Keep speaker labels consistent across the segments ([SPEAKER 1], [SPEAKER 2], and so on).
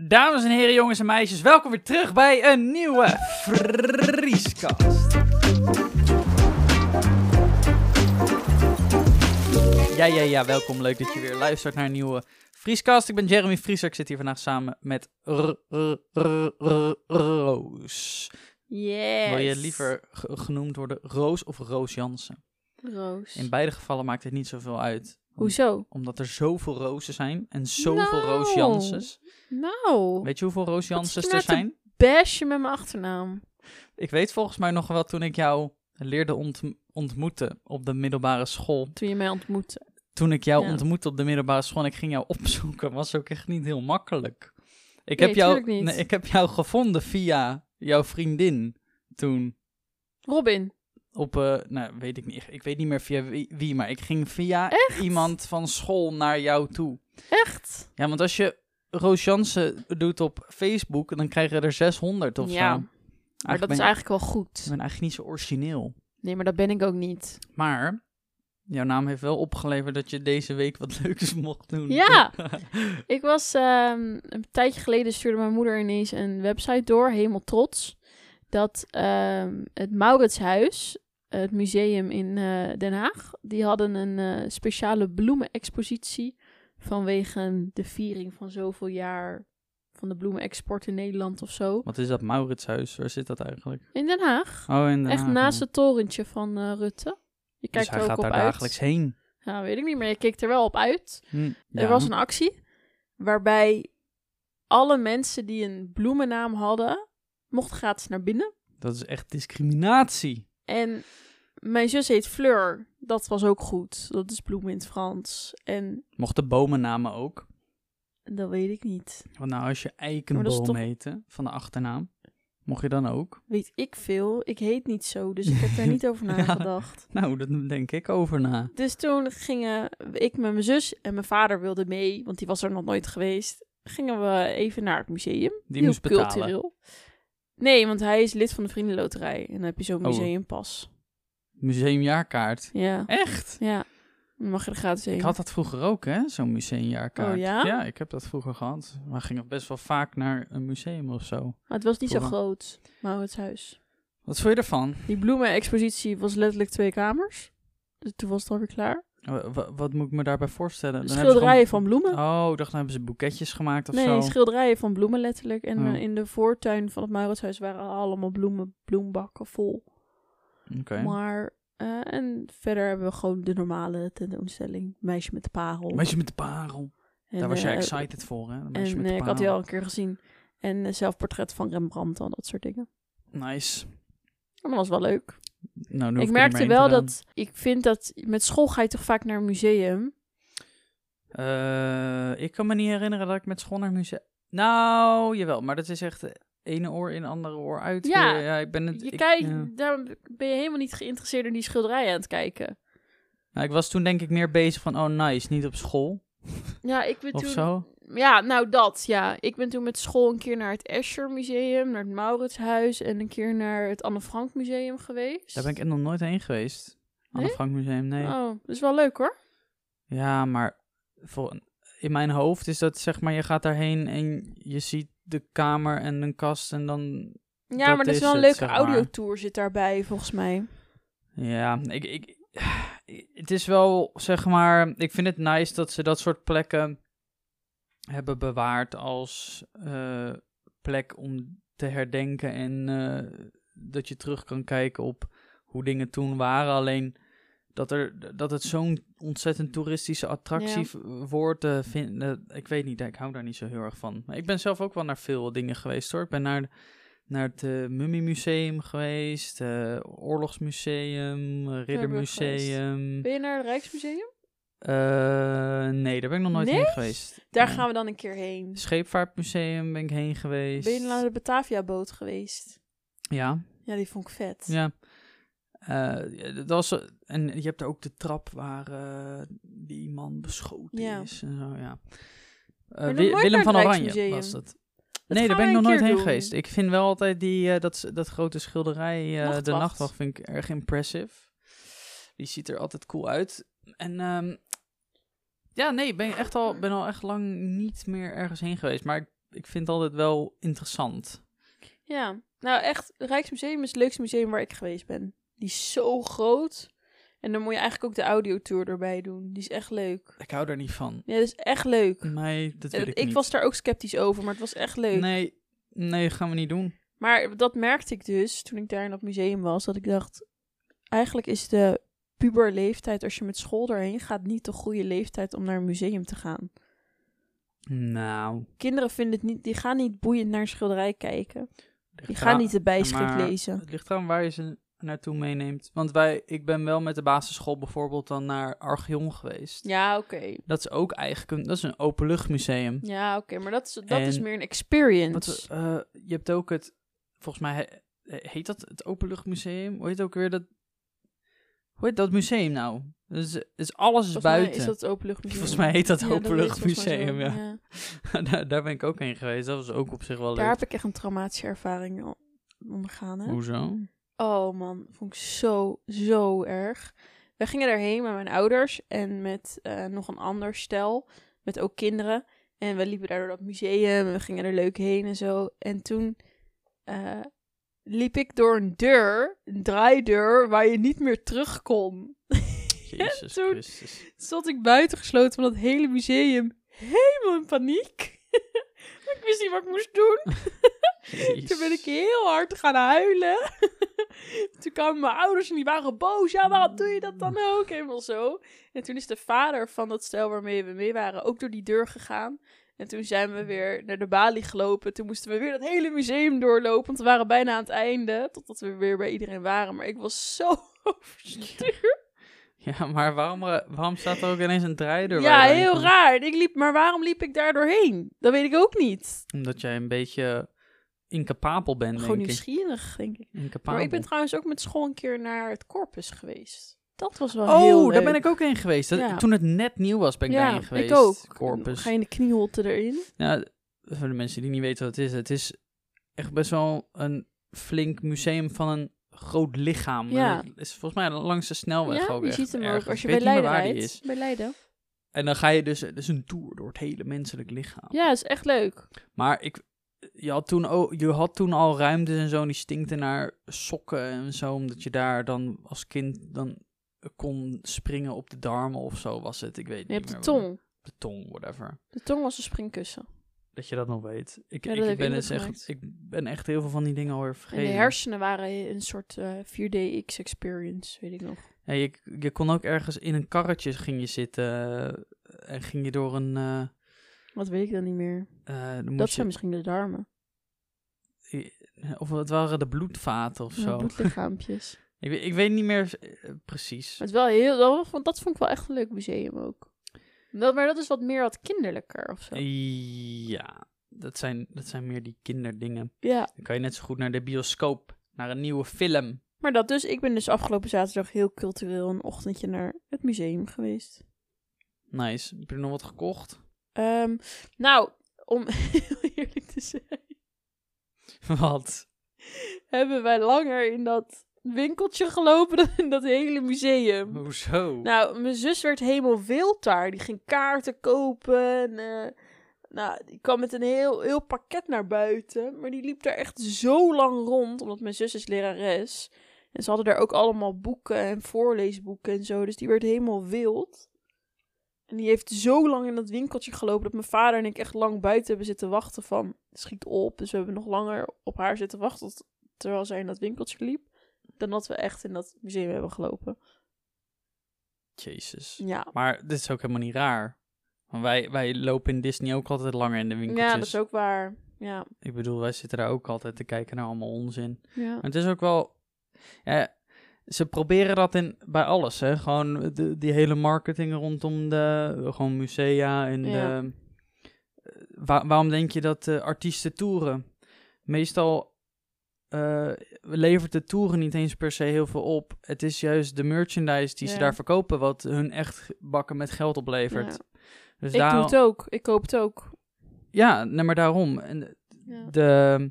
[SPEAKER 1] Dames en heren, jongens en meisjes, welkom weer terug bij een nieuwe Vrieskast. Ja, ja, ja, welkom. Leuk dat je weer luistert naar een nieuwe Vrieskast. Ik ben Jeremy Vrieser. Ik zit hier vandaag samen met R- R- R- R- Roos.
[SPEAKER 2] Yes.
[SPEAKER 1] Wil je liever ge- genoemd worden Roos of Roos Jansen?
[SPEAKER 2] Roos.
[SPEAKER 1] In beide gevallen maakt het niet zoveel uit.
[SPEAKER 2] Hoezo?
[SPEAKER 1] Omdat er zoveel rozen zijn en zoveel
[SPEAKER 2] Nou.
[SPEAKER 1] Roos Jansens.
[SPEAKER 2] Nou,
[SPEAKER 1] Weet je hoeveel Roos Jansens
[SPEAKER 2] nou
[SPEAKER 1] er
[SPEAKER 2] te-
[SPEAKER 1] zijn?
[SPEAKER 2] bash je met mijn achternaam.
[SPEAKER 1] Ik weet volgens mij nog wel toen ik jou leerde ont- ontmoeten op de middelbare school.
[SPEAKER 2] Toen je mij ontmoette.
[SPEAKER 1] Toen ik jou
[SPEAKER 2] Ja.
[SPEAKER 1] ontmoette op de middelbare school en ik ging jou opzoeken, was ook echt niet heel makkelijk. Ik,
[SPEAKER 2] Nee,
[SPEAKER 1] heb, jou,
[SPEAKER 2] tuurlijk niet.
[SPEAKER 1] Nee, ik heb jou gevonden via jouw vriendin toen.
[SPEAKER 2] Robin.
[SPEAKER 1] Op, eh, nou weet ik niet, ik weet niet meer via wie, wie, maar ik ging via iemand van school naar jou toe.
[SPEAKER 2] Echt?
[SPEAKER 1] Ja, want als je Roos Jansen doet op Facebook, dan krijgen er 600 of
[SPEAKER 2] Ja,
[SPEAKER 1] zo.
[SPEAKER 2] maar Maar dat
[SPEAKER 1] ben
[SPEAKER 2] is
[SPEAKER 1] je-
[SPEAKER 2] eigenlijk wel
[SPEAKER 1] ik
[SPEAKER 2] goed.
[SPEAKER 1] ben eigenlijk niet zo origineel.
[SPEAKER 2] Nee, maar dat ben ik ook niet.
[SPEAKER 1] Maar jouw naam heeft wel opgeleverd dat je deze week wat leuks mocht doen.
[SPEAKER 2] Ja! Ik was ehm, een tijdje geleden stuurde mijn moeder ineens een website door, helemaal trots. Dat ehm, het Mauritshuis, het museum in eh, Den Haag, die hadden een eh, speciale bloemenexpositie vanwege de viering van zoveel jaar van de bloemenexport in Nederland of zo.
[SPEAKER 1] wat is dat Mauritshuis? Waar zit dat eigenlijk?
[SPEAKER 2] In Den Haag.
[SPEAKER 1] Oh, in Den
[SPEAKER 2] Echt
[SPEAKER 1] Haag,
[SPEAKER 2] naast
[SPEAKER 1] ja.
[SPEAKER 2] het torentje van eh, Rutte. Je kijkt
[SPEAKER 1] Dus hij
[SPEAKER 2] er ook
[SPEAKER 1] gaat
[SPEAKER 2] op
[SPEAKER 1] daar
[SPEAKER 2] uit.
[SPEAKER 1] dagelijks heen.
[SPEAKER 2] Nou, weet ik niet, maar je keek er wel op uit.
[SPEAKER 1] Hm,
[SPEAKER 2] Er was een actie waarbij alle mensen die een bloemennaam hadden, mochten gratis naar binnen.
[SPEAKER 1] Dat is echt discriminatie.
[SPEAKER 2] En mijn zus heet Fleur. Dat was ook goed. Dat is bloem in het Frans. En
[SPEAKER 1] Mochten bomennamen ook?
[SPEAKER 2] dat weet ik niet.
[SPEAKER 1] Want nou, als je
[SPEAKER 2] Maar dat is
[SPEAKER 1] eikenboom
[SPEAKER 2] toch-
[SPEAKER 1] heette van de achternaam, mocht je dan ook?
[SPEAKER 2] Weet ik veel. Ik heet niet zo, dus ik heb daar niet over
[SPEAKER 1] Ja.
[SPEAKER 2] nagedacht.
[SPEAKER 1] Nou, daar denk ik over na.
[SPEAKER 2] Dus toen gingen ik met mijn zus en mijn vader wilde mee, want die was er nog nooit geweest. Gingen we even naar het museum.
[SPEAKER 1] Die
[SPEAKER 2] Heel
[SPEAKER 1] moest betalen.
[SPEAKER 2] cultureel. Nee, want hij is lid van de Vriendenloterij. En dan heb je
[SPEAKER 1] Oh.
[SPEAKER 2] zo'n museumpas.
[SPEAKER 1] Museumjaarkaart.
[SPEAKER 2] Ja,
[SPEAKER 1] Echt?
[SPEAKER 2] ja. Dan mag je er gratis heen.
[SPEAKER 1] Ik had dat vroeger ook, hè? Zo'n museumjaarkaart.
[SPEAKER 2] Oh, ja?
[SPEAKER 1] ik heb dat vroeger gehad. Maar gingen best wel vaak naar een museum of zo.
[SPEAKER 2] Maar het was niet zo
[SPEAKER 1] Voor-
[SPEAKER 2] groot, Mauritshuis.
[SPEAKER 1] Wat vond je ervan?
[SPEAKER 2] Die bloemenexpositie was letterlijk twee kamers. Dus toen was het alweer klaar.
[SPEAKER 1] Wa- wa- wat moet ik me daarbij voorstellen? Dan hebben ze
[SPEAKER 2] Schilderijen van bloemen.
[SPEAKER 1] gewoon- Oh, ik dacht, dan hebben ze boeketjes gemaakt of
[SPEAKER 2] nee,
[SPEAKER 1] zo.
[SPEAKER 2] schilderijen van bloemen letterlijk. En
[SPEAKER 1] Oh.
[SPEAKER 2] eh, in de voortuin van het Mauritshuis waren allemaal bloemen, bloembakken vol.
[SPEAKER 1] Oké.
[SPEAKER 2] Maar, eh, en verder hebben we gewoon de normale tentoonstelling. Meisje met de parel.
[SPEAKER 1] Meisje met de parel.
[SPEAKER 2] En,
[SPEAKER 1] Daar was jij
[SPEAKER 2] eh,
[SPEAKER 1] excited voor, hè? Meisje
[SPEAKER 2] En
[SPEAKER 1] met de
[SPEAKER 2] eh, ik had die al
[SPEAKER 1] parel.
[SPEAKER 2] een keer gezien. En eh, zelfportret van Rembrandt, al dat soort dingen.
[SPEAKER 1] Nice.
[SPEAKER 2] Maar dat was wel leuk.
[SPEAKER 1] Nou, nu hoef
[SPEAKER 2] Ik
[SPEAKER 1] er niet
[SPEAKER 2] merkte
[SPEAKER 1] meer heen
[SPEAKER 2] wel
[SPEAKER 1] te gaan.
[SPEAKER 2] dat, ik vind dat, met school ga je toch vaak naar een museum.
[SPEAKER 1] Eh, ik kan me niet herinneren dat ik met school naar het museum... Nou, jawel, maar dat is echt eh, ene oor in, andere oor uit.
[SPEAKER 2] Ja,
[SPEAKER 1] weer. ja ik ben het...
[SPEAKER 2] Je
[SPEAKER 1] ik,
[SPEAKER 2] kijkt,
[SPEAKER 1] ja.
[SPEAKER 2] daar ben je helemaal niet geïnteresseerd in die schilderijen aan het kijken.
[SPEAKER 1] Nou, ik was toen denk ik meer bezig van, oh nice, niet op school
[SPEAKER 2] Ja, ik ben
[SPEAKER 1] of
[SPEAKER 2] toen...
[SPEAKER 1] zo.
[SPEAKER 2] Ja, nou dat, ja. Ik ben toen met school een keer naar het Escher Museum, naar het Mauritshuis en een keer naar het Anne Frank Museum geweest.
[SPEAKER 1] Daar ben ik echt nog nooit heen geweest. Anne
[SPEAKER 2] Nee?
[SPEAKER 1] Frank Museum, nee.
[SPEAKER 2] Oh, dat is wel leuk hoor.
[SPEAKER 1] Ja, maar voor, in mijn hoofd is dat zeg maar, je gaat daarheen en je ziet de kamer en een kast en dan...
[SPEAKER 2] Ja,
[SPEAKER 1] Dat
[SPEAKER 2] maar dat is
[SPEAKER 1] is
[SPEAKER 2] wel een
[SPEAKER 1] het,
[SPEAKER 2] leuke
[SPEAKER 1] zeg maar. Hm.
[SPEAKER 2] audiotour zit daarbij, volgens mij.
[SPEAKER 1] Ja, ik, ik, het is wel zeg maar, ik vind het nice dat ze dat soort plekken hebben bewaard als eh, plek om te herdenken en eh, dat je terug kan kijken op hoe dingen toen waren. Alleen dat, er, dat het zo'n ontzettend toeristische attractie
[SPEAKER 2] Ja.
[SPEAKER 1] v- wordt, eh, vind, eh, ik weet niet, ik hou daar niet zo heel erg van. Maar ik ben zelf ook wel naar veel dingen geweest hoor. Ik ben naar, naar het eh Mummiemuseum geweest, eh, Oorlogsmuseum, eh, Riddermuseum.
[SPEAKER 2] Ben je naar het Rijksmuseum?
[SPEAKER 1] Eh, nee, daar ben ik nog nooit
[SPEAKER 2] Nee?
[SPEAKER 1] heen geweest.
[SPEAKER 2] Daar
[SPEAKER 1] Nee.
[SPEAKER 2] gaan we dan een keer heen.
[SPEAKER 1] Scheepvaartmuseum ben ik heen geweest.
[SPEAKER 2] Ben je naar de Batavia-boot geweest?
[SPEAKER 1] Ja.
[SPEAKER 2] Ja, die vond ik vet.
[SPEAKER 1] Ja. Eh, ja, dat was, en je hebt ook de trap waar eh, die man beschoten
[SPEAKER 2] Ja.
[SPEAKER 1] is. En zo, ja. Eh,
[SPEAKER 2] nog
[SPEAKER 1] Wi-
[SPEAKER 2] nooit
[SPEAKER 1] Willem
[SPEAKER 2] naar
[SPEAKER 1] van
[SPEAKER 2] het
[SPEAKER 1] Oranje
[SPEAKER 2] Rijksmuseum.
[SPEAKER 1] was dat.
[SPEAKER 2] Dat
[SPEAKER 1] nee, daar
[SPEAKER 2] gaan
[SPEAKER 1] ben
[SPEAKER 2] we
[SPEAKER 1] ik nog
[SPEAKER 2] een
[SPEAKER 1] nooit
[SPEAKER 2] keer
[SPEAKER 1] heen
[SPEAKER 2] doen.
[SPEAKER 1] geweest. Ik vind wel altijd die, eh, dat, dat grote schilderij, eh, De
[SPEAKER 2] Nachtwacht.
[SPEAKER 1] Nachtwacht, vind ik erg impressive. Die ziet er altijd cool uit. En ehm, ja, nee, ben ik echt al, ben al echt lang niet meer ergens heen geweest. Maar ik ik vind het altijd wel interessant.
[SPEAKER 2] Ja, nou echt, Rijksmuseum is het leukste museum waar ik geweest ben. Die is zo groot. En dan moet je eigenlijk ook de audiotour erbij doen. Die is echt leuk.
[SPEAKER 1] Ik hou daar niet van.
[SPEAKER 2] Ja, dat is echt leuk.
[SPEAKER 1] Nee, dat
[SPEAKER 2] En
[SPEAKER 1] weet
[SPEAKER 2] dat-
[SPEAKER 1] ik,
[SPEAKER 2] ik
[SPEAKER 1] niet.
[SPEAKER 2] was daar ook sceptisch over, maar het was echt leuk.
[SPEAKER 1] Nee, nee, gaan we niet doen.
[SPEAKER 2] Maar dat merkte ik dus toen ik daar in dat museum was. Dat ik dacht, eigenlijk is de puberleeftijd als je met school daarheen gaat niet de goede leeftijd om naar een museum te gaan.
[SPEAKER 1] Nou,
[SPEAKER 2] Kinderen vinden het niet, die gaan niet boeiend naar een schilderij kijken. Die
[SPEAKER 1] ligt
[SPEAKER 2] gaan
[SPEAKER 1] eraan-
[SPEAKER 2] niet de bijschrift
[SPEAKER 1] maar-
[SPEAKER 2] lezen.
[SPEAKER 1] Het ligt eraan waar je ze naartoe meeneemt. Want wij, ik ben wel met de basisschool bijvoorbeeld dan naar Archeon geweest.
[SPEAKER 2] Ja, oké.
[SPEAKER 1] Dat is ook eigenlijk een, dat is een openluchtmuseum.
[SPEAKER 2] Ja, oké. Maar dat is, dat
[SPEAKER 1] En-
[SPEAKER 2] is meer een experience.
[SPEAKER 1] Wat, eh, je hebt ook het, volgens mij he- heet dat het Openluchtmuseum? Hoe heet ook weer dat? Hoe heet dat museum nou? Dus, is alles is
[SPEAKER 2] Volgens mij
[SPEAKER 1] buiten.
[SPEAKER 2] is dat het openluchtmuseum.
[SPEAKER 1] Volgens mij heet dat
[SPEAKER 2] Ja, dat heet volgens mij zo,
[SPEAKER 1] Openluchtmuseum. Ja. daar, daar ben ik ook heen geweest. Dat was ook op zich wel
[SPEAKER 2] Daar
[SPEAKER 1] leuk.
[SPEAKER 2] heb ik echt een traumatische ervaring o- ondergaan. Hè?
[SPEAKER 1] Hoezo?
[SPEAKER 2] Oh man, vond ik zo, zo erg. We gingen daarheen met mijn ouders en met eh, nog een ander stel, met ook kinderen. En we liepen daar door dat museum en we gingen er leuk heen en zo. En toen eh, liep ik door een deur, een draaideur, waar je niet meer terug kon.
[SPEAKER 1] Jezus
[SPEAKER 2] toen-
[SPEAKER 1] Christus.
[SPEAKER 2] Stond ik buitengesloten van dat hele museum, helemaal in paniek. ik wist niet wat ik moest doen. Toen ben ik
[SPEAKER 1] Jezus.
[SPEAKER 2] heel hard gaan huilen. toen kwamen mijn ouders en die waren boos. Ja, waarom doe je dat dan ook? Helemaal zo. En toen is de vader van dat stel waarmee we mee waren ook door die deur gegaan. En toen zijn we weer naar de balie gelopen. Toen moesten we weer dat hele museum doorlopen. Want we waren bijna aan het einde. Totdat we weer bij iedereen waren. Maar ik was zo overstuurd.
[SPEAKER 1] Ja, maar waarom, eh, waarom staat er ook ineens een draaideur?
[SPEAKER 2] Ja,
[SPEAKER 1] waar je heen
[SPEAKER 2] heel
[SPEAKER 1] kon?
[SPEAKER 2] raar. En Ik liep, maar waarom liep ik daar doorheen? Dat weet ik ook niet.
[SPEAKER 1] Omdat jij een beetje incapabel bent,
[SPEAKER 2] Gewoon
[SPEAKER 1] denk ik.
[SPEAKER 2] nieuwsgierig, denk ik.
[SPEAKER 1] Incapabel.
[SPEAKER 2] Maar ik ben trouwens ook met school een keer naar het corpus geweest. Dat was wel heel
[SPEAKER 1] Oh,
[SPEAKER 2] leuk.
[SPEAKER 1] daar ben ik ook heen geweest. Dat-
[SPEAKER 2] Ja.
[SPEAKER 1] Toen het net nieuw was, ben ik
[SPEAKER 2] ja,
[SPEAKER 1] daarheen geweest.
[SPEAKER 2] ik ook.
[SPEAKER 1] Corpus.
[SPEAKER 2] Ga je in de knieholte erin?
[SPEAKER 1] Nou, voor de mensen die niet weten wat het is. Het is echt best wel een flink museum van een groot lichaam.
[SPEAKER 2] Ja.
[SPEAKER 1] Het is volgens mij langs de snelweg
[SPEAKER 2] ja,
[SPEAKER 1] ook
[SPEAKER 2] je
[SPEAKER 1] echt
[SPEAKER 2] ziet hem
[SPEAKER 1] ergens.
[SPEAKER 2] ook als je
[SPEAKER 1] Ik
[SPEAKER 2] bij
[SPEAKER 1] weet niet meer waar
[SPEAKER 2] Leiden
[SPEAKER 1] die
[SPEAKER 2] rijdt.
[SPEAKER 1] is.
[SPEAKER 2] Bij Leiden.
[SPEAKER 1] En dan ga je dus, dus een tour door het hele menselijk lichaam.
[SPEAKER 2] Ja, is echt leuk.
[SPEAKER 1] Maar ik, je, had toen ook, je had toen al ruimtes en zo, en die stinkte naar sokken en zo, omdat je daar dan als kind dan kon springen op de darmen of zo was het. Ik weet niet
[SPEAKER 2] Je hebt de
[SPEAKER 1] meer wat-
[SPEAKER 2] tong.
[SPEAKER 1] De tong, whatever.
[SPEAKER 2] De tong was een springkussen.
[SPEAKER 1] Dat je dat nog weet. Ik,
[SPEAKER 2] Ja, dat
[SPEAKER 1] ik,
[SPEAKER 2] heb ik
[SPEAKER 1] ben
[SPEAKER 2] ook
[SPEAKER 1] dus echt,
[SPEAKER 2] gemaakt.
[SPEAKER 1] ik ben echt heel veel van die dingen alweer
[SPEAKER 2] En
[SPEAKER 1] vergeten.
[SPEAKER 2] de hersenen waren een soort eh, 4DX experience, weet ik nog.
[SPEAKER 1] Ja, je, je kon ook ergens in een karretje ging je zitten eh, en ging je door een... eh,
[SPEAKER 2] Wat weet ik dan niet meer.
[SPEAKER 1] eh, dan
[SPEAKER 2] dat
[SPEAKER 1] moest
[SPEAKER 2] zijn
[SPEAKER 1] je,
[SPEAKER 2] misschien de darmen.
[SPEAKER 1] of het waren de bloedvaten of
[SPEAKER 2] Ja,
[SPEAKER 1] zo.
[SPEAKER 2] bloedlichaampjes.
[SPEAKER 1] Ik, weet- ik weet niet meer eh, precies.
[SPEAKER 2] Maar het is wel heel, dat vond, dat vond ik wel echt een leuk museum ook. Dat, maar dat is wat meer wat kinderlijker of zo.
[SPEAKER 1] Ja, dat zijn, dat zijn meer die kinderdingen.
[SPEAKER 2] Ja.
[SPEAKER 1] Dan kan je net zo goed naar de bioscoop, naar een nieuwe film.
[SPEAKER 2] Maar dat dus, ik ben dus afgelopen zaterdag heel cultureel een ochtendje naar het museum geweest.
[SPEAKER 1] Nice. Heb je nog wat gekocht?
[SPEAKER 2] Ehm, nou, om heel eerlijk te zijn,
[SPEAKER 1] wat?
[SPEAKER 2] hebben wij langer in dat winkeltje gelopen dan in dat hele museum.
[SPEAKER 1] Hoezo?
[SPEAKER 2] Nou, mijn zus werd helemaal wild daar. Die ging kaarten kopen. En, eh, nou, die kwam met een heel, heel pakket naar buiten. Maar die liep daar echt zo lang rond, omdat mijn zus is lerares. En ze hadden daar ook allemaal boeken en voorleesboeken en zo. Dus die werd helemaal wild. En die heeft zo lang in dat winkeltje gelopen dat mijn vader en ik echt lang buiten hebben zitten wachten van schiet op. Dus we hebben nog langer op haar zitten wachten tot- terwijl zij in dat winkeltje liep. Dan dat we echt in dat museum hebben gelopen.
[SPEAKER 1] Jezus.
[SPEAKER 2] Ja,
[SPEAKER 1] Maar dit is ook helemaal niet raar. Want wij, wij lopen in Disney ook altijd langer in de winkeltjes.
[SPEAKER 2] Ja, dat is ook waar. Ja.
[SPEAKER 1] Ik bedoel, wij zitten daar ook altijd te kijken naar allemaal onzin.
[SPEAKER 2] ja.
[SPEAKER 1] Maar het is ook wel... Ja, ze proberen dat in, bij alles, hè. Gewoon de- die hele marketing rondom de... Gewoon musea en
[SPEAKER 2] Ja.
[SPEAKER 1] de... Wa- waarom denk je dat eh, artiesten toeren? Meestal eh, levert de toeren niet eens per se heel veel op. Het is juist de merchandise die ze
[SPEAKER 2] Ja.
[SPEAKER 1] daar verkopen... wat hun echt bakken met geld oplevert. Dus
[SPEAKER 2] Ik
[SPEAKER 1] daar,
[SPEAKER 2] doe het ook. Ik koop het ook.
[SPEAKER 1] Ja, nee, maar daarom. En
[SPEAKER 2] Ja.
[SPEAKER 1] de,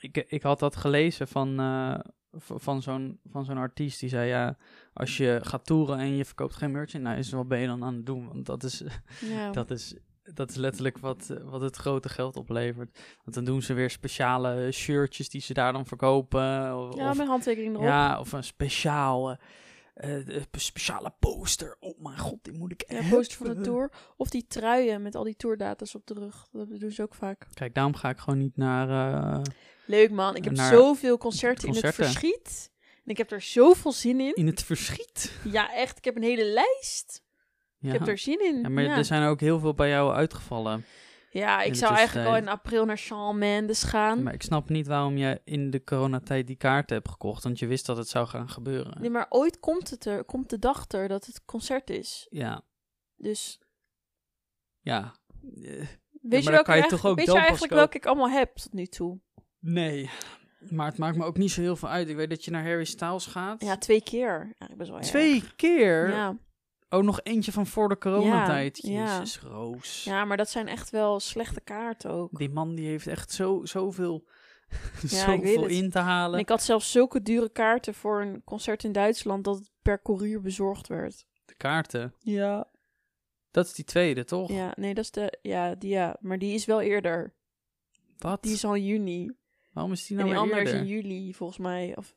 [SPEAKER 1] ik, ik had dat gelezen van, eh, v- van zo'n van zo'n artiest. Die zei, ja, nou, als je gaat toeren en je verkoopt geen merchandise... wat ben je dan aan het doen? Want dat is,
[SPEAKER 2] Ja.
[SPEAKER 1] dat is dat is letterlijk wat, eh, wat het grote geld oplevert. Want dan doen ze weer speciale shirtjes die ze daar dan verkopen. Of,
[SPEAKER 2] Ja,
[SPEAKER 1] of-
[SPEAKER 2] mijn handtekening erop.
[SPEAKER 1] ja, of een speciaal, eh, eh, een speciale poster. Oh mijn god, die moet ik
[SPEAKER 2] Ja,
[SPEAKER 1] hebben.
[SPEAKER 2] poster van de tour. Of die truien met al die tourdata's op de rug. Dat doen ze ook vaak.
[SPEAKER 1] Kijk, daarom ga ik gewoon niet naar... eh,
[SPEAKER 2] Leuk man. Ik heb
[SPEAKER 1] Naar
[SPEAKER 2] zoveel concerten,
[SPEAKER 1] concerten.
[SPEAKER 2] in het verschiet. En ik heb er zoveel zin in.
[SPEAKER 1] in het verschiet.
[SPEAKER 2] Ja, echt. Ik heb een hele lijst.
[SPEAKER 1] Ja.
[SPEAKER 2] Ik heb er zin in.
[SPEAKER 1] Ja,
[SPEAKER 2] Ja,
[SPEAKER 1] maar
[SPEAKER 2] Mhm,
[SPEAKER 1] dus-
[SPEAKER 2] ja.
[SPEAKER 1] er zijn ook heel veel bij jou uitgevallen.
[SPEAKER 2] ik
[SPEAKER 1] de
[SPEAKER 2] zou eigenlijk al in
[SPEAKER 1] tussentijd.
[SPEAKER 2] april naar Shawn Mendes gaan.
[SPEAKER 1] eh, Maar ik snap niet waarom je in de coronatijd die kaart hebt gekocht. Want je wist dat het zou gaan gebeuren.
[SPEAKER 2] Nee, maar ooit komt, het er, komt de dag er dat het concert is.
[SPEAKER 1] Ja,
[SPEAKER 2] Dus
[SPEAKER 1] ja. Eh, maar dan
[SPEAKER 2] weet je, welke,
[SPEAKER 1] kan je
[SPEAKER 2] eigenlijk-
[SPEAKER 1] toch ook
[SPEAKER 2] weet je
[SPEAKER 1] dan pas
[SPEAKER 2] eigenlijk welke ik allemaal heb tot nu toe?
[SPEAKER 1] Nee. Maar het maakt me ook niet zo heel veel uit. Ik weet dat je naar Harry Styles gaat.
[SPEAKER 2] Ja, twee keer. Eigenlijk best wel erg.
[SPEAKER 1] Twee keer?
[SPEAKER 2] Ja.
[SPEAKER 1] Oh, nog eentje van voor de coronatijd.
[SPEAKER 2] Ja, ja.
[SPEAKER 1] Jezus, Roos.
[SPEAKER 2] ja, maar dat zijn echt wel slechte kaarten ook.
[SPEAKER 1] Die man die heeft echt zo, zoveel,
[SPEAKER 2] ik weet
[SPEAKER 1] zoveel
[SPEAKER 2] het.
[SPEAKER 1] in te
[SPEAKER 2] En
[SPEAKER 1] halen.
[SPEAKER 2] ik had zelfs zulke dure kaarten voor een concert in Duitsland dat het per courier bezorgd werd.
[SPEAKER 1] De kaarten.
[SPEAKER 2] Ja.
[SPEAKER 1] Dat is die tweede, toch?
[SPEAKER 2] Ja, nee, dat is de. Ja, die ja. Maar die is wel eerder.
[SPEAKER 1] Wat?
[SPEAKER 2] Die is al in juni.
[SPEAKER 1] Waarom is die
[SPEAKER 2] en
[SPEAKER 1] nou
[SPEAKER 2] die
[SPEAKER 1] weer
[SPEAKER 2] andere
[SPEAKER 1] eerder?
[SPEAKER 2] is in juli, volgens mij. Of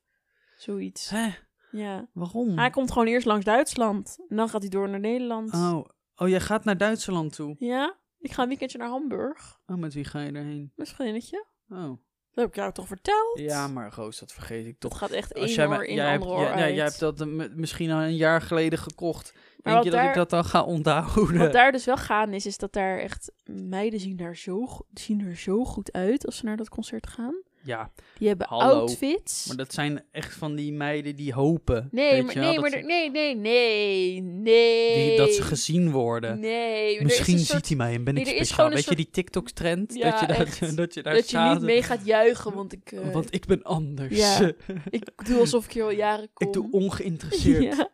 [SPEAKER 2] zoiets.
[SPEAKER 1] Hè?
[SPEAKER 2] Ja.
[SPEAKER 1] Waarom?
[SPEAKER 2] Hij komt gewoon eerst langs Duitsland. En dan gaat hij door naar Nederland.
[SPEAKER 1] Oh. oh, jij gaat naar Duitsland toe.
[SPEAKER 2] Ja. Ik ga een weekendje naar Hamburg.
[SPEAKER 1] Oh, met wie ga je erheen?
[SPEAKER 2] Met een vriendinnetje.
[SPEAKER 1] Oh.
[SPEAKER 2] Dat heb ik jou toch verteld?
[SPEAKER 1] Ja, maar Roos, dat vergeet ik
[SPEAKER 2] Dat
[SPEAKER 1] toch.
[SPEAKER 2] gaat echt
[SPEAKER 1] Als
[SPEAKER 2] één
[SPEAKER 1] jij,
[SPEAKER 2] oor
[SPEAKER 1] me-
[SPEAKER 2] in
[SPEAKER 1] jij, hebt,
[SPEAKER 2] andere oor
[SPEAKER 1] jij, nee, jij hebt
[SPEAKER 2] uit.
[SPEAKER 1] dat eh, mi- misschien al een jaar geleden gekocht.
[SPEAKER 2] Maar
[SPEAKER 1] Denk
[SPEAKER 2] wat
[SPEAKER 1] je dat
[SPEAKER 2] daar-
[SPEAKER 1] ik dat dan ga onthouden?
[SPEAKER 2] Wat daar dus wel gaande is, is dat daar echt meiden zien, daar zo, go- zien er zo goed uit als ze naar dat concert gaan.
[SPEAKER 1] Ja,
[SPEAKER 2] Die hebben
[SPEAKER 1] Hallo.
[SPEAKER 2] outfits.
[SPEAKER 1] maar dat zijn echt van die meiden die hopen.
[SPEAKER 2] nee,
[SPEAKER 1] weet
[SPEAKER 2] maar,
[SPEAKER 1] je wel,
[SPEAKER 2] nee,
[SPEAKER 1] dat
[SPEAKER 2] maar
[SPEAKER 1] ze-
[SPEAKER 2] er- nee, nee, nee, nee.
[SPEAKER 1] die, dat ze gezien worden.
[SPEAKER 2] Nee, maar
[SPEAKER 1] Misschien
[SPEAKER 2] er is
[SPEAKER 1] ziet
[SPEAKER 2] een soort,
[SPEAKER 1] hij mij en ben
[SPEAKER 2] nee,
[SPEAKER 1] ik
[SPEAKER 2] er is
[SPEAKER 1] speciaal.
[SPEAKER 2] gewoon een
[SPEAKER 1] Weet je die TikTok-trend?
[SPEAKER 2] Ja,
[SPEAKER 1] dat, je daar,
[SPEAKER 2] echt.
[SPEAKER 1] dat je daar
[SPEAKER 2] dat je niet
[SPEAKER 1] zaten-
[SPEAKER 2] mee gaat juichen, want ik, eh,
[SPEAKER 1] Want ik ben anders.
[SPEAKER 2] Ja. ik doe alsof ik hier al jaren kom.
[SPEAKER 1] ik doe ongeïnteresseerd.
[SPEAKER 2] Ja.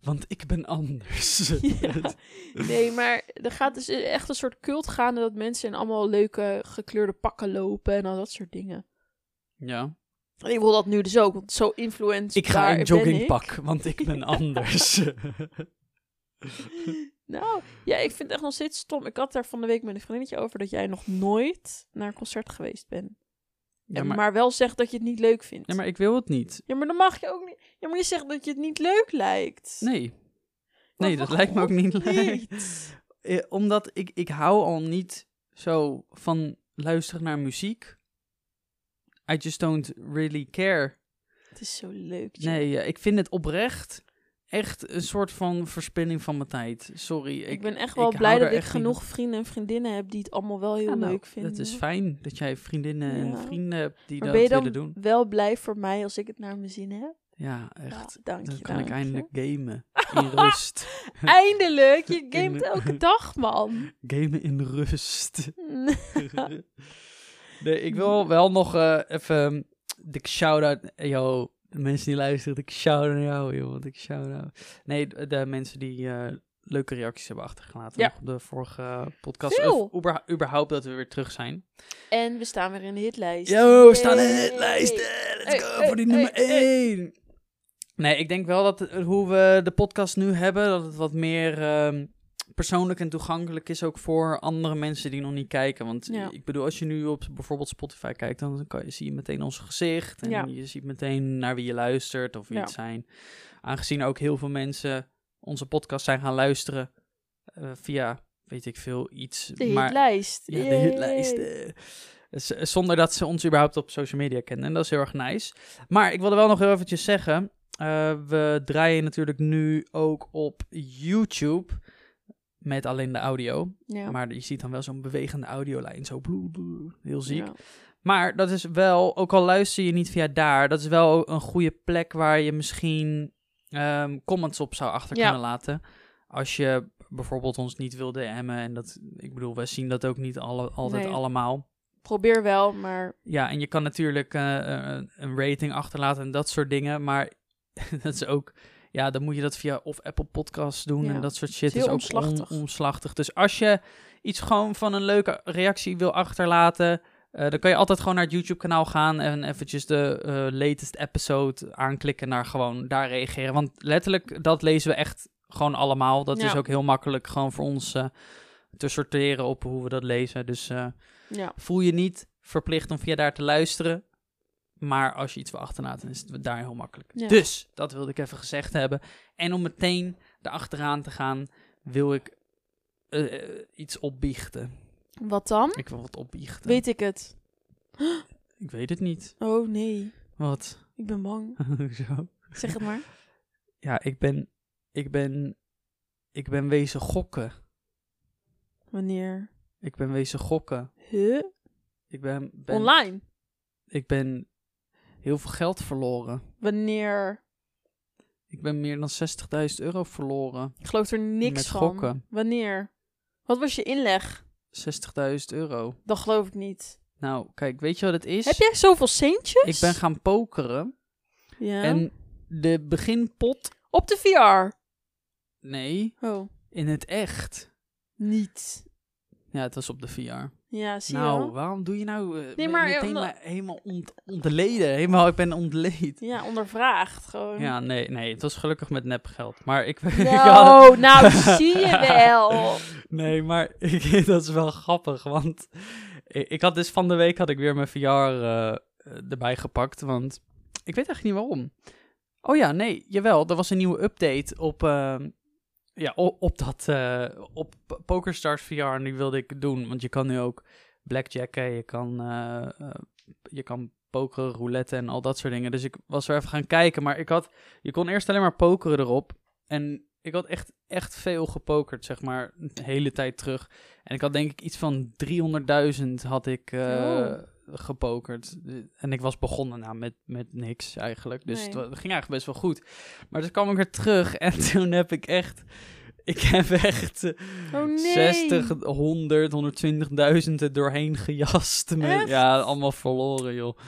[SPEAKER 1] Want ik ben anders.
[SPEAKER 2] Ja. Nee, maar er gaat dus echt een soort cult gaande dat mensen in allemaal leuke gekleurde pakken lopen en al dat soort dingen.
[SPEAKER 1] Ja.
[SPEAKER 2] En ik wil dat nu dus ook, want zo influent.
[SPEAKER 1] Ik ga in joggingpak, want ik ben anders.
[SPEAKER 2] Nou, ja, ik vind het echt nog steeds stom. Ik had daar van de week met een vriendinnetje over dat jij nog nooit naar een concert geweest bent.
[SPEAKER 1] ja,
[SPEAKER 2] En maar...
[SPEAKER 1] maar,
[SPEAKER 2] wel zegt dat je het niet leuk vindt.
[SPEAKER 1] ja, maar ik wil het niet.
[SPEAKER 2] Ja, maar dan mag je ook niet. Ja, maar je zegt dat je het niet leuk lijkt.
[SPEAKER 1] Nee.
[SPEAKER 2] Maar
[SPEAKER 1] Nee, dat
[SPEAKER 2] waarom
[SPEAKER 1] lijkt me ook niet leuk.
[SPEAKER 2] niet?
[SPEAKER 1] Eh, Omdat ik, ik hou al niet zo van luisteren naar muziek. I just don't really care.
[SPEAKER 2] Het is zo leuk. joh.
[SPEAKER 1] Nee, eh, ik vind het oprecht echt een soort van verspilling van mijn tijd. Sorry.
[SPEAKER 2] Ik,
[SPEAKER 1] Ik,
[SPEAKER 2] ben echt wel
[SPEAKER 1] ik
[SPEAKER 2] blij
[SPEAKER 1] hou
[SPEAKER 2] dat
[SPEAKER 1] daar
[SPEAKER 2] ik
[SPEAKER 1] echt niet
[SPEAKER 2] genoeg vrienden en vriendinnen heb die het allemaal wel heel
[SPEAKER 1] Ja, nou,
[SPEAKER 2] leuk vinden.
[SPEAKER 1] Dat is fijn dat jij vriendinnen en
[SPEAKER 2] Ja.
[SPEAKER 1] vrienden hebt die
[SPEAKER 2] Maar
[SPEAKER 1] dat
[SPEAKER 2] ben je dan
[SPEAKER 1] willen doen.
[SPEAKER 2] wel blij voor mij als ik het naar mijn zin heb?
[SPEAKER 1] Ja, echt.
[SPEAKER 2] Ja, dank je,
[SPEAKER 1] dan kan
[SPEAKER 2] dank
[SPEAKER 1] ik
[SPEAKER 2] je.
[SPEAKER 1] eindelijk gamen. In rust.
[SPEAKER 2] Eindelijk! Je gamet
[SPEAKER 1] de-
[SPEAKER 2] elke dag, man.
[SPEAKER 1] Gamen in rust. nee, ik wil wel nog eh, even de shout-out. Yo, de mensen die luisteren, ik shout-out naar jou, joh. Want ik shout-out. Nee, de, de mensen die eh, leuke reacties hebben achtergelaten
[SPEAKER 2] Ja.
[SPEAKER 1] nog op de vorige podcast.
[SPEAKER 2] Veel.
[SPEAKER 1] Of überha- überhaupt dat we weer terug zijn.
[SPEAKER 2] en we staan weer in de hitlijst.
[SPEAKER 1] Yo, we staan in
[SPEAKER 2] Yay.
[SPEAKER 1] het lijst. eh, Let's
[SPEAKER 2] Hey,
[SPEAKER 1] go
[SPEAKER 2] hey,
[SPEAKER 1] voor die
[SPEAKER 2] hey,
[SPEAKER 1] nummer
[SPEAKER 2] hey.
[SPEAKER 1] 1. Nee, ik denk wel dat eh, hoe we de podcast nu hebben, dat het wat meer ehm, persoonlijk en toegankelijk is ook voor andere mensen die nog niet kijken. Want eh,
[SPEAKER 2] Ja.
[SPEAKER 1] ik bedoel, als je nu op bijvoorbeeld Spotify kijkt, dan kan je, zie je meteen ons gezicht en
[SPEAKER 2] Ja.
[SPEAKER 1] je ziet meteen naar wie je luistert of wie
[SPEAKER 2] Ja.
[SPEAKER 1] het zijn. Aangezien ook heel veel mensen onze podcast zijn gaan luisteren eh, via, weet ik veel, iets.
[SPEAKER 2] De
[SPEAKER 1] maar
[SPEAKER 2] hitlijst.
[SPEAKER 1] ja, de
[SPEAKER 2] Yay.
[SPEAKER 1] hitlijst. eh. Z- zonder dat ze ons überhaupt op social media kennen. En dat is heel erg nice. Maar ik wilde wel nog heel eventjes zeggen. eh, we draaien natuurlijk nu ook op YouTube. Met alleen de audio.
[SPEAKER 2] Ja.
[SPEAKER 1] Maar je ziet dan wel zo'n bewegende audiolijn. Zo bloe, bloe, heel ziek.
[SPEAKER 2] Ja.
[SPEAKER 1] Maar dat is wel, ook al luister je niet via daar, dat is wel een goede plek waar je misschien ehm, comments op zou achter
[SPEAKER 2] Ja.
[SPEAKER 1] kunnen laten. Als je bijvoorbeeld ons niet wil DM'en. En dat, ik bedoel, wij zien dat ook niet alle, altijd
[SPEAKER 2] Nee.
[SPEAKER 1] allemaal.
[SPEAKER 2] Probeer wel, maar
[SPEAKER 1] Ja, en je kan natuurlijk eh, een, een rating achterlaten en dat soort dingen. Maar dat is ook. Ja, dan moet je dat via of Apple Podcasts doen
[SPEAKER 2] Ja.
[SPEAKER 1] en dat soort shit.
[SPEAKER 2] Het is
[SPEAKER 1] is ook
[SPEAKER 2] heel omslachtig.
[SPEAKER 1] on- omslachtig. Dus als je iets gewoon van een leuke reactie wil achterlaten, eh, dan kan je altijd gewoon naar het YouTube-kanaal gaan en eventjes de eh, latest episode aanklikken naar gewoon daar reageren. Want letterlijk, dat lezen we echt gewoon allemaal. Dat
[SPEAKER 2] Ja.
[SPEAKER 1] is ook heel makkelijk gewoon voor ons eh, te sorteren op hoe we dat lezen. Dus eh,
[SPEAKER 2] Ja.
[SPEAKER 1] voel je niet verplicht om via daar te luisteren. Maar als je iets wil achterlaten, is het daar heel makkelijk.
[SPEAKER 2] Ja.
[SPEAKER 1] Dus, dat wilde ik even gezegd hebben. En om meteen erachteraan te gaan, wil ik eh, eh, iets opbiechten.
[SPEAKER 2] Wat dan?
[SPEAKER 1] Ik wil wat opbiechten.
[SPEAKER 2] Weet ik het.
[SPEAKER 1] Ik weet het niet.
[SPEAKER 2] Oh nee,
[SPEAKER 1] Wat?
[SPEAKER 2] ik ben bang.
[SPEAKER 1] Zo.
[SPEAKER 2] Zeg het maar.
[SPEAKER 1] Ja, ik ben, ik ben, ik ben wezen gokken.
[SPEAKER 2] Wanneer?
[SPEAKER 1] Ik ben wezen gokken.
[SPEAKER 2] Huh?
[SPEAKER 1] Ik ben, ben-
[SPEAKER 2] Online?
[SPEAKER 1] ik ben heel veel geld verloren.
[SPEAKER 2] Wanneer?
[SPEAKER 1] Ik ben meer dan 60.000 euro verloren.
[SPEAKER 2] Ik geloof er niks
[SPEAKER 1] Met
[SPEAKER 2] van.
[SPEAKER 1] gokken.
[SPEAKER 2] Wanneer? Wat was je inleg?
[SPEAKER 1] 60.000 euro.
[SPEAKER 2] Dat geloof ik niet.
[SPEAKER 1] Nou, kijk, weet je wat het is?
[SPEAKER 2] Heb jij zoveel centjes?
[SPEAKER 1] Ik ben gaan pokeren.
[SPEAKER 2] Ja.
[SPEAKER 1] En de beginpot...
[SPEAKER 2] Op de VR?
[SPEAKER 1] Nee,
[SPEAKER 2] Oh,
[SPEAKER 1] in het echt.
[SPEAKER 2] niet.
[SPEAKER 1] Ja, het was op de VR.
[SPEAKER 2] Ja, zie je
[SPEAKER 1] nou,
[SPEAKER 2] wel?
[SPEAKER 1] waarom doe je nou eh,
[SPEAKER 2] Nee, maar, eh,
[SPEAKER 1] meteen
[SPEAKER 2] omdat-
[SPEAKER 1] maar helemaal ont ontleden? Helemaal, ik ben ontleed.
[SPEAKER 2] Ja, ondervraagd gewoon.
[SPEAKER 1] Ja, nee, nee, het was gelukkig met nepgeld. Maar ik... ik had-
[SPEAKER 2] Nou, nou, zie je wel.
[SPEAKER 1] Nee, maar ik, dat is wel grappig, want ik, ik had dus van de week had ik weer mijn VR eh, eh, erbij gepakt, want ik weet eigenlijk niet waarom. Oh ja, nee, jawel, er was een nieuwe update op, eh, ja, op, op dat, eh, op P- PokerStars VR en die wilde ik doen, want je kan nu ook blackjacken, je kan, eh, eh, je kan pokeren, roulette en al dat soort dingen. Dus ik was er even gaan kijken, maar ik had, je kon eerst alleen maar pokeren erop en ik had echt, echt veel gepokerd, zeg maar, de hele tijd terug. En ik had denk ik iets van 300.000 had ik eh,
[SPEAKER 2] Oh.
[SPEAKER 1] gepokerd. Eh, En ik was begonnen nou, met, met niks eigenlijk. Dus
[SPEAKER 2] Nee.
[SPEAKER 1] het, wa- het ging eigenlijk best wel goed. Maar toen kwam ik er terug en toen heb ik echt... Ik heb echt eh,
[SPEAKER 2] Oh nee.
[SPEAKER 1] 60, 100, 120.000 er doorheen gejast. Met,
[SPEAKER 2] Echt?
[SPEAKER 1] Ja, allemaal verloren, joh.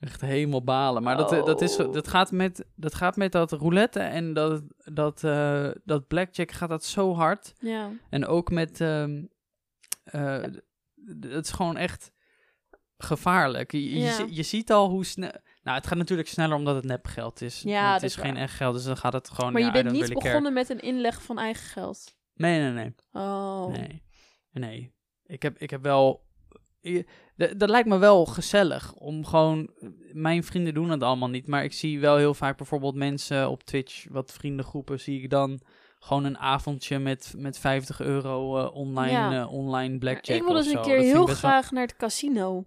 [SPEAKER 1] Echt helemaal balen. Maar dat, eh, dat, is,
[SPEAKER 2] Oh.
[SPEAKER 1] dat, gaat met, dat gaat met dat roulette en dat, dat, eh, dat blackjack gaat dat zo hard.
[SPEAKER 2] Ja.
[SPEAKER 1] En ook met... ehm, eh, d- het is gewoon echt gevaarlijk. Je, je
[SPEAKER 2] Ja.
[SPEAKER 1] zi- je ziet al hoe snel... Nou, het gaat natuurlijk sneller omdat het nepgeld is.
[SPEAKER 2] Ja,
[SPEAKER 1] Want
[SPEAKER 2] dat
[SPEAKER 1] het
[SPEAKER 2] is
[SPEAKER 1] is geen
[SPEAKER 2] waar.
[SPEAKER 1] echt geld, dus dan gaat het gewoon...
[SPEAKER 2] Maar
[SPEAKER 1] ja,
[SPEAKER 2] je
[SPEAKER 1] I
[SPEAKER 2] bent
[SPEAKER 1] don't
[SPEAKER 2] niet
[SPEAKER 1] really care.
[SPEAKER 2] begonnen met een inleg van eigen geld.
[SPEAKER 1] Nee, nee, nee.
[SPEAKER 2] Oh.
[SPEAKER 1] Nee. Nee. Ik heb, ik heb wel. i- d- Dat lijkt me wel gezellig om gewoon. eh, Mijn vrienden doen het allemaal niet, maar ik zie wel heel vaak bijvoorbeeld mensen op Twitch, wat vriendengroepen, zie ik dan gewoon een avondje met, met 50 euro eh, online,
[SPEAKER 2] Ja.
[SPEAKER 1] eh, online blackjack.
[SPEAKER 2] ik wil
[SPEAKER 1] of
[SPEAKER 2] dus
[SPEAKER 1] zo.
[SPEAKER 2] een keer
[SPEAKER 1] Dat vind
[SPEAKER 2] heel
[SPEAKER 1] ik best wel-
[SPEAKER 2] graag naar het casino.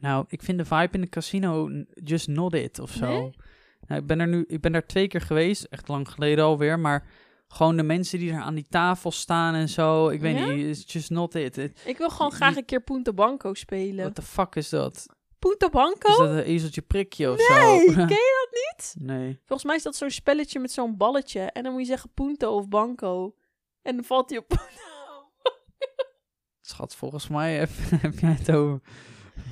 [SPEAKER 1] Nou, ik vind de vibe in de casino n- just not it of zo.
[SPEAKER 2] Nee?
[SPEAKER 1] Nou, ik ben er nu, ik ben daar twee keer geweest, echt lang geleden alweer, maar gewoon de mensen die er aan die tafel staan en zo, ik weet
[SPEAKER 2] Ja?
[SPEAKER 1] niet, it's just not it. It-
[SPEAKER 2] Ik wil gewoon
[SPEAKER 1] Je-
[SPEAKER 2] graag een keer Punta Banco spelen.
[SPEAKER 1] What the fuck is dat?
[SPEAKER 2] Punta Banco?
[SPEAKER 1] Is dat een ezeltje prikje of
[SPEAKER 2] Nee,
[SPEAKER 1] zo?
[SPEAKER 2] ken je dat niet?
[SPEAKER 1] nee.
[SPEAKER 2] Volgens mij is dat zo'n spelletje met zo'n balletje. En dan moet je zeggen Punto of Banco. En dan valt hij op Punto.
[SPEAKER 1] Schat, volgens mij heb, heb jij het over.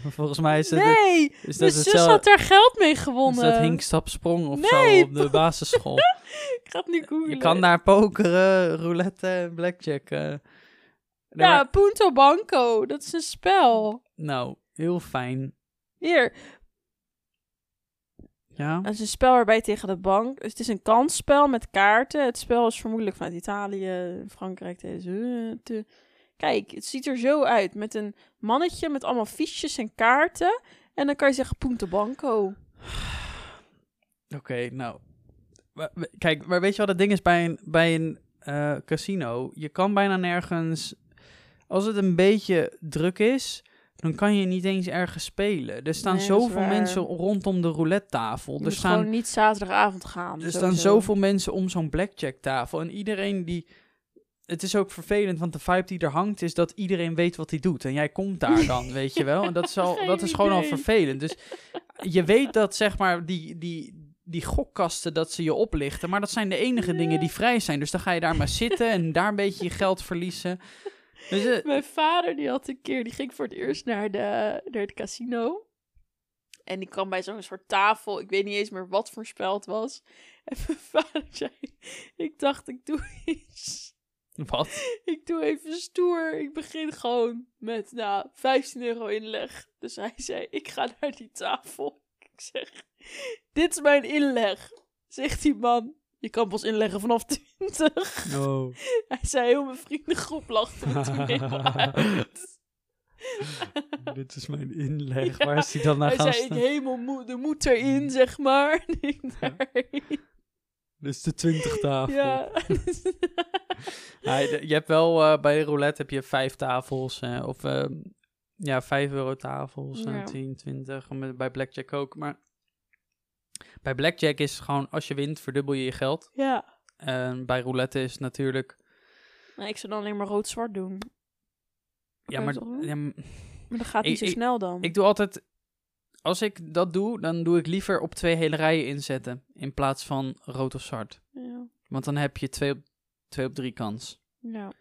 [SPEAKER 1] Volgens mij is dat,
[SPEAKER 2] Nee,
[SPEAKER 1] is dat
[SPEAKER 2] mijn zus
[SPEAKER 1] hetzelfde.
[SPEAKER 2] had daar geld mee
[SPEAKER 1] is
[SPEAKER 2] gewonnen.
[SPEAKER 1] dat hinkstapsprong of
[SPEAKER 2] Nee,
[SPEAKER 1] zo op de basisschool?
[SPEAKER 2] Ik ga het nu googlen.
[SPEAKER 1] Je kan daar pokeren, roulette en Nou, blackjack. eh. Nee,
[SPEAKER 2] Ja,
[SPEAKER 1] maar-
[SPEAKER 2] Punto Banco. Dat is een spel.
[SPEAKER 1] nou, heel fijn.
[SPEAKER 2] Hier,
[SPEAKER 1] Ja?
[SPEAKER 2] dat is een spel waarbij je tegen de bank... Het is een kansspel met kaarten. Het spel is vermoedelijk vanuit Italië, Frankrijk. Deze, te... Kijk, het ziet er zo uit. Met een mannetje met allemaal fiches en kaarten. En dan kan je zeggen Punto Banco.
[SPEAKER 1] Oké, nou. Maar- maar- Kijk, maar weet je wat het ding is bij een, bij een eh, casino? Je kan bijna nergens. Als het een beetje druk is, dan kan je niet eens ergens spelen. Er staan
[SPEAKER 2] Nee, dat is
[SPEAKER 1] zoveel
[SPEAKER 2] waar.
[SPEAKER 1] mensen rondom de roulette tafel.
[SPEAKER 2] Je
[SPEAKER 1] Er
[SPEAKER 2] moet
[SPEAKER 1] staan,
[SPEAKER 2] gewoon niet zaterdagavond gaan.
[SPEAKER 1] er staan
[SPEAKER 2] sowieso.
[SPEAKER 1] Dus zoveel mensen om zo'n blackjack tafel. En iedereen die. Het is ook vervelend, want de vibe die er hangt is dat iedereen weet wat hij doet. En jij komt daar dan, weet je wel. En dat is, al,
[SPEAKER 2] Geen
[SPEAKER 1] dat is gewoon al
[SPEAKER 2] idee.
[SPEAKER 1] vervelend. Dus je weet dat, zeg maar, die, die, die gokkasten, dat ze je oplichten. Maar dat zijn de enige
[SPEAKER 2] Ja.
[SPEAKER 1] dingen die vrij zijn. Dus dan ga je daar maar zitten en daar een beetje je geld verliezen. Dus, eh,
[SPEAKER 2] Mijn vader die had een keer, die ging voor het eerst naar, de, naar het casino. En die kwam bij zo'n soort tafel, ik weet niet eens meer wat voor spel het was. En mijn vader zei, ik dacht ik doe iets,
[SPEAKER 1] wat?
[SPEAKER 2] ik doe even stoer. Ik begin gewoon met, nou, 15 euro inleg. Dus hij zei, ik ga naar die tafel. Ik zeg, dit is mijn inleg. Zegt die man, Je kan pas inleggen vanaf 20.
[SPEAKER 1] Oh.
[SPEAKER 2] Hij zei, heel mijn vriendengroep lachte me toen helemaal uit.
[SPEAKER 1] Dit is mijn inleg.
[SPEAKER 2] Ja,
[SPEAKER 1] Waar is hij dan naar
[SPEAKER 2] Hij
[SPEAKER 1] gaan
[SPEAKER 2] zei, ik
[SPEAKER 1] staan?
[SPEAKER 2] hemel, moe- de moed erin, zeg maar. En ik
[SPEAKER 1] Ja.
[SPEAKER 2] daar-
[SPEAKER 1] Dit is de twintig tafel.
[SPEAKER 2] Ja.
[SPEAKER 1] Nee, de- je hebt wel, eh, bij de roulette heb je vijf tafels. eh, of eh, ja, vijf euro tafels. en
[SPEAKER 2] Ja.
[SPEAKER 1] 10, 20. en met- Bij blackjack ook. Maar bij blackjack is het gewoon, als je wint, verdubbel je je geld.
[SPEAKER 2] ja.
[SPEAKER 1] En bij roulette is het natuurlijk...
[SPEAKER 2] Nou, ik zou dan alleen maar rood-zwart doen.
[SPEAKER 1] Ja,
[SPEAKER 2] Kan je
[SPEAKER 1] maar,
[SPEAKER 2] toch doen?
[SPEAKER 1] ja, maar
[SPEAKER 2] Maar dat gaat
[SPEAKER 1] Ik-
[SPEAKER 2] niet zo
[SPEAKER 1] ik-
[SPEAKER 2] snel dan.
[SPEAKER 1] ik doe altijd... Als ik dat doe, dan doe ik liever op twee hele rijen inzetten. In plaats van rood of zwart.
[SPEAKER 2] ja.
[SPEAKER 1] Want dan heb je twee op, twee op drie kans.
[SPEAKER 2] Ja.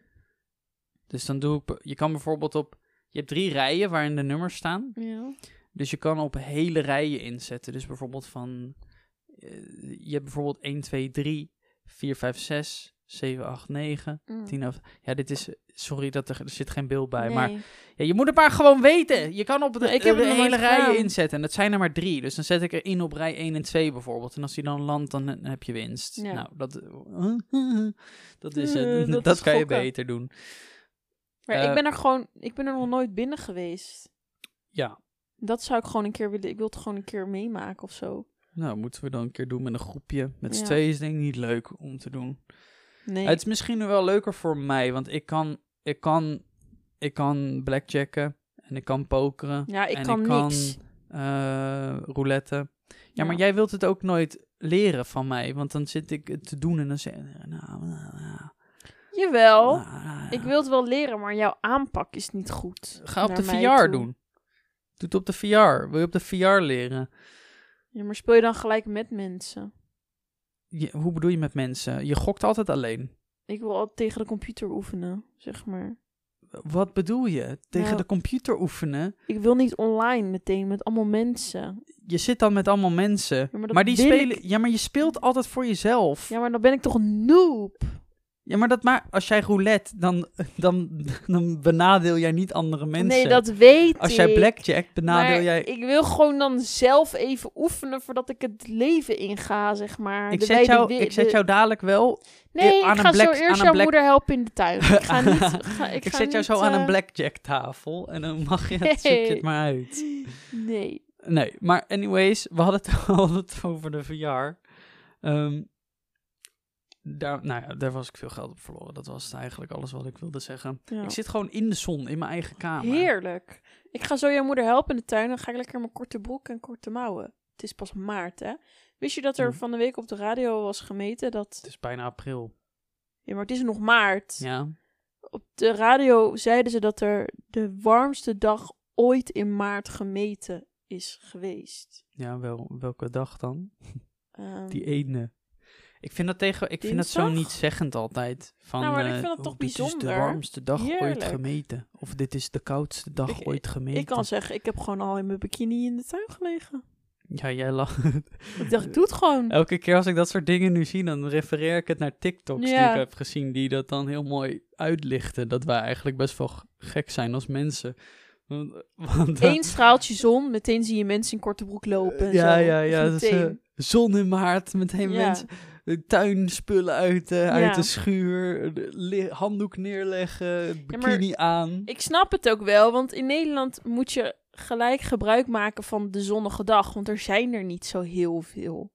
[SPEAKER 1] Dus dan doe ik... b- Je kan bijvoorbeeld op... Je hebt drie rijen waarin de nummers staan.
[SPEAKER 2] Ja.
[SPEAKER 1] Dus je kan op hele rijen inzetten. Dus bijvoorbeeld van. eh, je hebt bijvoorbeeld 1, 2, 3, 4, 5, 6, 7, 8, 9,
[SPEAKER 2] Mm.
[SPEAKER 1] 10. Of, ja, dit is. Sorry dat er, er zit geen beeld bij. Maar
[SPEAKER 2] Nee.
[SPEAKER 1] ja, je moet het maar gewoon weten. Je kan op de,
[SPEAKER 2] Ja, ik heb
[SPEAKER 1] de
[SPEAKER 2] het nog
[SPEAKER 1] hele
[SPEAKER 2] nooit
[SPEAKER 1] rijen
[SPEAKER 2] gedaan.
[SPEAKER 1] inzetten. En dat zijn er maar drie. Dus dan zet ik er in op rij 1 en 2 bijvoorbeeld. En als die dan landt, dan he- heb je winst.
[SPEAKER 2] Ja.
[SPEAKER 1] Nou, dat, dat is het.
[SPEAKER 2] Eh,
[SPEAKER 1] dat
[SPEAKER 2] dat is
[SPEAKER 1] kan je
[SPEAKER 2] gokken.
[SPEAKER 1] beter doen.
[SPEAKER 2] Maar
[SPEAKER 1] Eh,
[SPEAKER 2] ik ben er gewoon, ik ben er nog nooit binnen geweest.
[SPEAKER 1] Ja.
[SPEAKER 2] Dat zou ik gewoon een keer willen. Ik wil het gewoon een keer meemaken of zo.
[SPEAKER 1] Nou, moeten we dan een keer doen met een groepje. Met z'n
[SPEAKER 2] Ja.
[SPEAKER 1] tweeën is denk ik niet leuk om te doen.
[SPEAKER 2] Nee.
[SPEAKER 1] Het is misschien wel leuker voor mij, want ik kan, ik kan, ik kan blackjacken en ik kan pokeren.
[SPEAKER 2] ja, ik
[SPEAKER 1] en
[SPEAKER 2] kan
[SPEAKER 1] ik kan-
[SPEAKER 2] niks.
[SPEAKER 1] eh roulette. Ja, maar jij wilt het ook nooit leren van mij, want dan zit ik het te doen en dan zeg ik, nou, nou, nou,
[SPEAKER 2] Jawel.
[SPEAKER 1] nou, nou,
[SPEAKER 2] Oh, Ik wil het wel leren, maar jouw aanpak is niet goed.
[SPEAKER 1] Ga op
[SPEAKER 2] naar
[SPEAKER 1] de
[SPEAKER 2] mij
[SPEAKER 1] VR
[SPEAKER 2] toe.
[SPEAKER 1] doen. Doe het op de VR. Wil je op de VR leren?
[SPEAKER 2] Ja, maar speel je dan gelijk met mensen?
[SPEAKER 1] Je- hoe bedoel je met mensen? Je gokt altijd alleen.
[SPEAKER 2] Ik wil altijd tegen de computer oefenen, zeg maar.
[SPEAKER 1] Wat bedoel je? Tegen
[SPEAKER 2] Nou.
[SPEAKER 1] de computer oefenen?
[SPEAKER 2] Ik wil niet online meteen met allemaal mensen.
[SPEAKER 1] Je zit dan met allemaal mensen.
[SPEAKER 2] Ja, maar
[SPEAKER 1] maar,
[SPEAKER 2] dat
[SPEAKER 1] die
[SPEAKER 2] wil
[SPEAKER 1] spelen...
[SPEAKER 2] ik.
[SPEAKER 1] Ja, maar je speelt altijd voor jezelf.
[SPEAKER 2] Ja, maar dan ben ik toch een noob?
[SPEAKER 1] Ja, maar dat maar als jij roulette, dan, dan, dan benadeel jij niet andere mensen.
[SPEAKER 2] Nee, dat weet
[SPEAKER 1] als
[SPEAKER 2] ik.
[SPEAKER 1] jij blackjack, benadeel
[SPEAKER 2] Maar
[SPEAKER 1] jij.
[SPEAKER 2] ik wil gewoon dan zelf even oefenen voordat ik het leven inga, zeg maar.
[SPEAKER 1] Ik
[SPEAKER 2] De
[SPEAKER 1] zet,
[SPEAKER 2] wijde
[SPEAKER 1] jou,
[SPEAKER 2] wi-
[SPEAKER 1] ik zet
[SPEAKER 2] de-
[SPEAKER 1] jou dadelijk wel.
[SPEAKER 2] Nee,
[SPEAKER 1] aan
[SPEAKER 2] ik
[SPEAKER 1] een
[SPEAKER 2] ga
[SPEAKER 1] black-
[SPEAKER 2] zo
[SPEAKER 1] aan
[SPEAKER 2] eerst
[SPEAKER 1] een
[SPEAKER 2] jouw
[SPEAKER 1] black-
[SPEAKER 2] moeder helpen in de tuin. Ik ga niet... Ga, ik
[SPEAKER 1] Ik,
[SPEAKER 2] ga
[SPEAKER 1] zet jou
[SPEAKER 2] niet,
[SPEAKER 1] zo aan
[SPEAKER 2] eh,
[SPEAKER 1] een blackjack tafel en dan mag je het, zoek je het
[SPEAKER 2] Nee.
[SPEAKER 1] maar uit.
[SPEAKER 2] Nee.
[SPEAKER 1] Nee, maar anyways, we hadden het, we hadden het over de VR. Ehm, daar, nou ja, daar was ik veel geld op verloren. Dat was eigenlijk alles wat ik wilde zeggen.
[SPEAKER 2] Ja.
[SPEAKER 1] Ik zit gewoon in de zon, in mijn eigen kamer.
[SPEAKER 2] Heerlijk. Ik ga zo jouw moeder helpen in de tuin. Dan ga ik lekker in mijn korte broek en korte mouwen. Het is pas maart, hè? Wist je dat er
[SPEAKER 1] Mm.
[SPEAKER 2] van de week op de radio was gemeten dat...
[SPEAKER 1] Het is bijna april.
[SPEAKER 2] Ja, maar het is nog maart.
[SPEAKER 1] Ja.
[SPEAKER 2] Op de radio zeiden ze dat er de warmste dag ooit in maart gemeten is geweest.
[SPEAKER 1] Ja, wel, welke dag dan?
[SPEAKER 2] Ehm,
[SPEAKER 1] Die ene. Ik vind dat tegen, ik vind dat zo
[SPEAKER 2] Dinsdag?
[SPEAKER 1] niet zeggend altijd. Van,
[SPEAKER 2] Nou, maar ik
[SPEAKER 1] eh,
[SPEAKER 2] vind dat
[SPEAKER 1] oh,
[SPEAKER 2] toch
[SPEAKER 1] Dit is de
[SPEAKER 2] bijzonder?
[SPEAKER 1] warmste dag ooit
[SPEAKER 2] Heerlijk.
[SPEAKER 1] gemeten. Of dit is de koudste dag
[SPEAKER 2] Ik-
[SPEAKER 1] ooit gemeten.
[SPEAKER 2] Ik kan zeggen, ik heb gewoon al in mijn bikini in de tuin gelegen.
[SPEAKER 1] Ja, jij lacht.
[SPEAKER 2] Ik dacht, ik doe het gewoon.
[SPEAKER 1] Elke keer als ik dat soort dingen nu zie, dan refereer ik het naar TikToks die
[SPEAKER 2] Ja.
[SPEAKER 1] ik heb gezien. Die dat dan heel mooi uitlichten. Dat wij eigenlijk best wel g- gek zijn als mensen. Want, want, eh,
[SPEAKER 2] Eén straaltje zon, meteen zie je mensen in korte broek lopen. en
[SPEAKER 1] ja,
[SPEAKER 2] zo.
[SPEAKER 1] ja,
[SPEAKER 2] Echt
[SPEAKER 1] ja. dat is, eh,
[SPEAKER 2] meteen.
[SPEAKER 1] zon in maart, meteen
[SPEAKER 2] Ja.
[SPEAKER 1] mensen. De tuinspullen uit, eh, uit
[SPEAKER 2] Ja.
[SPEAKER 1] de schuur, de li- handdoek neerleggen, bikini aan.
[SPEAKER 2] Ik snap het ook wel, want in Nederland moet je gelijk gebruik maken van de zonnige dag. Want er zijn er niet zo heel veel.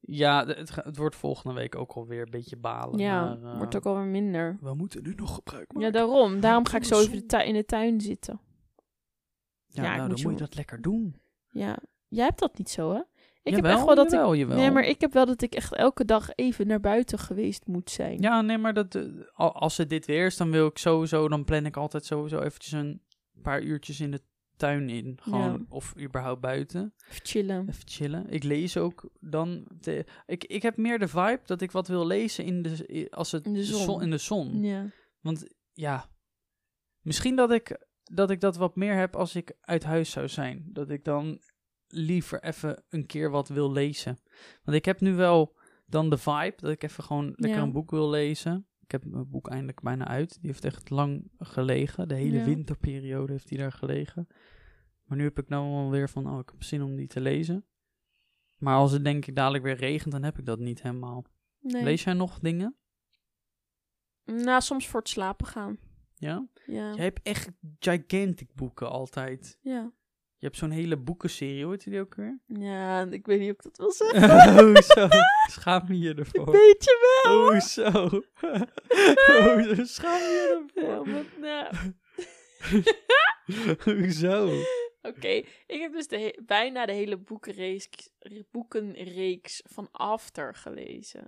[SPEAKER 1] Ja, de- het, ga- het wordt volgende week ook alweer een beetje balen.
[SPEAKER 2] ja,
[SPEAKER 1] maar, eh,
[SPEAKER 2] wordt ook alweer minder.
[SPEAKER 1] We moeten nu nog gebruik maken.
[SPEAKER 2] Ja, daarom. Daarom ga ik
[SPEAKER 1] de
[SPEAKER 2] zo even
[SPEAKER 1] zon.
[SPEAKER 2] de tu- in de tuin zitten.
[SPEAKER 1] Ja,
[SPEAKER 2] ja, ik
[SPEAKER 1] nou, dan
[SPEAKER 2] moet je
[SPEAKER 1] moet je
[SPEAKER 2] wel-
[SPEAKER 1] dat lekker doen.
[SPEAKER 2] Ja, jij hebt dat niet zo, hè? Ik
[SPEAKER 1] Jawel,
[SPEAKER 2] heb echt wel dat ik...
[SPEAKER 1] jawel, jawel.
[SPEAKER 2] Nee, maar ik heb wel dat ik echt elke dag even naar buiten geweest moet zijn.
[SPEAKER 1] Ja, nee, maar dat, eh, al- als het dit weer is, dan wil ik sowieso, dan plan ik altijd sowieso eventjes een paar uurtjes in de tuin in. Gewoon,
[SPEAKER 2] Ja.
[SPEAKER 1] of überhaupt buiten.
[SPEAKER 2] Even chillen.
[SPEAKER 1] Even chillen. Ik lees ook dan. te- ik, ik heb meer de vibe dat ik wat wil lezen in de, i- als het
[SPEAKER 2] In de zon.
[SPEAKER 1] in de zon. Ja.
[SPEAKER 2] Ja.
[SPEAKER 1] Misschien dat ik, dat ik dat wat meer heb als ik uit huis zou zijn. Dat ik dan liever even een keer wat wil lezen. Want ik heb nu wel dan de vibe dat ik even gewoon lekker
[SPEAKER 2] Ja.
[SPEAKER 1] een boek wil lezen. Ik heb mijn boek eindelijk bijna uit. Die heeft echt lang gelegen. De hele
[SPEAKER 2] Ja.
[SPEAKER 1] winterperiode heeft die daar gelegen. Maar nu heb ik nou alweer van, oh, ik heb zin om die te lezen. Maar als het denk ik dadelijk weer regent, dan heb ik dat niet helemaal.
[SPEAKER 2] Nee.
[SPEAKER 1] Lees jij nog dingen?
[SPEAKER 2] Nou, soms voor het slapen gaan.
[SPEAKER 1] Ja?
[SPEAKER 2] Ja.
[SPEAKER 1] Jij hebt echt gigantic boeken altijd.
[SPEAKER 2] Ja.
[SPEAKER 1] Je hebt zo'n hele boekenserie, hoort je die ook weer?
[SPEAKER 2] Ja, en ik weet niet of ik dat wil zeggen.
[SPEAKER 1] oh, zo. Schaam me je
[SPEAKER 2] Ik
[SPEAKER 1] ervoor.
[SPEAKER 2] weet je wel.
[SPEAKER 1] Oh, zo. Oh, zo. Schaam je
[SPEAKER 2] Ja,
[SPEAKER 1] ervoor.
[SPEAKER 2] wat nou?
[SPEAKER 1] Hoezo?
[SPEAKER 2] Oké, ik heb dus de he- bijna de hele boekenreeks, boekenreeks van After gelezen.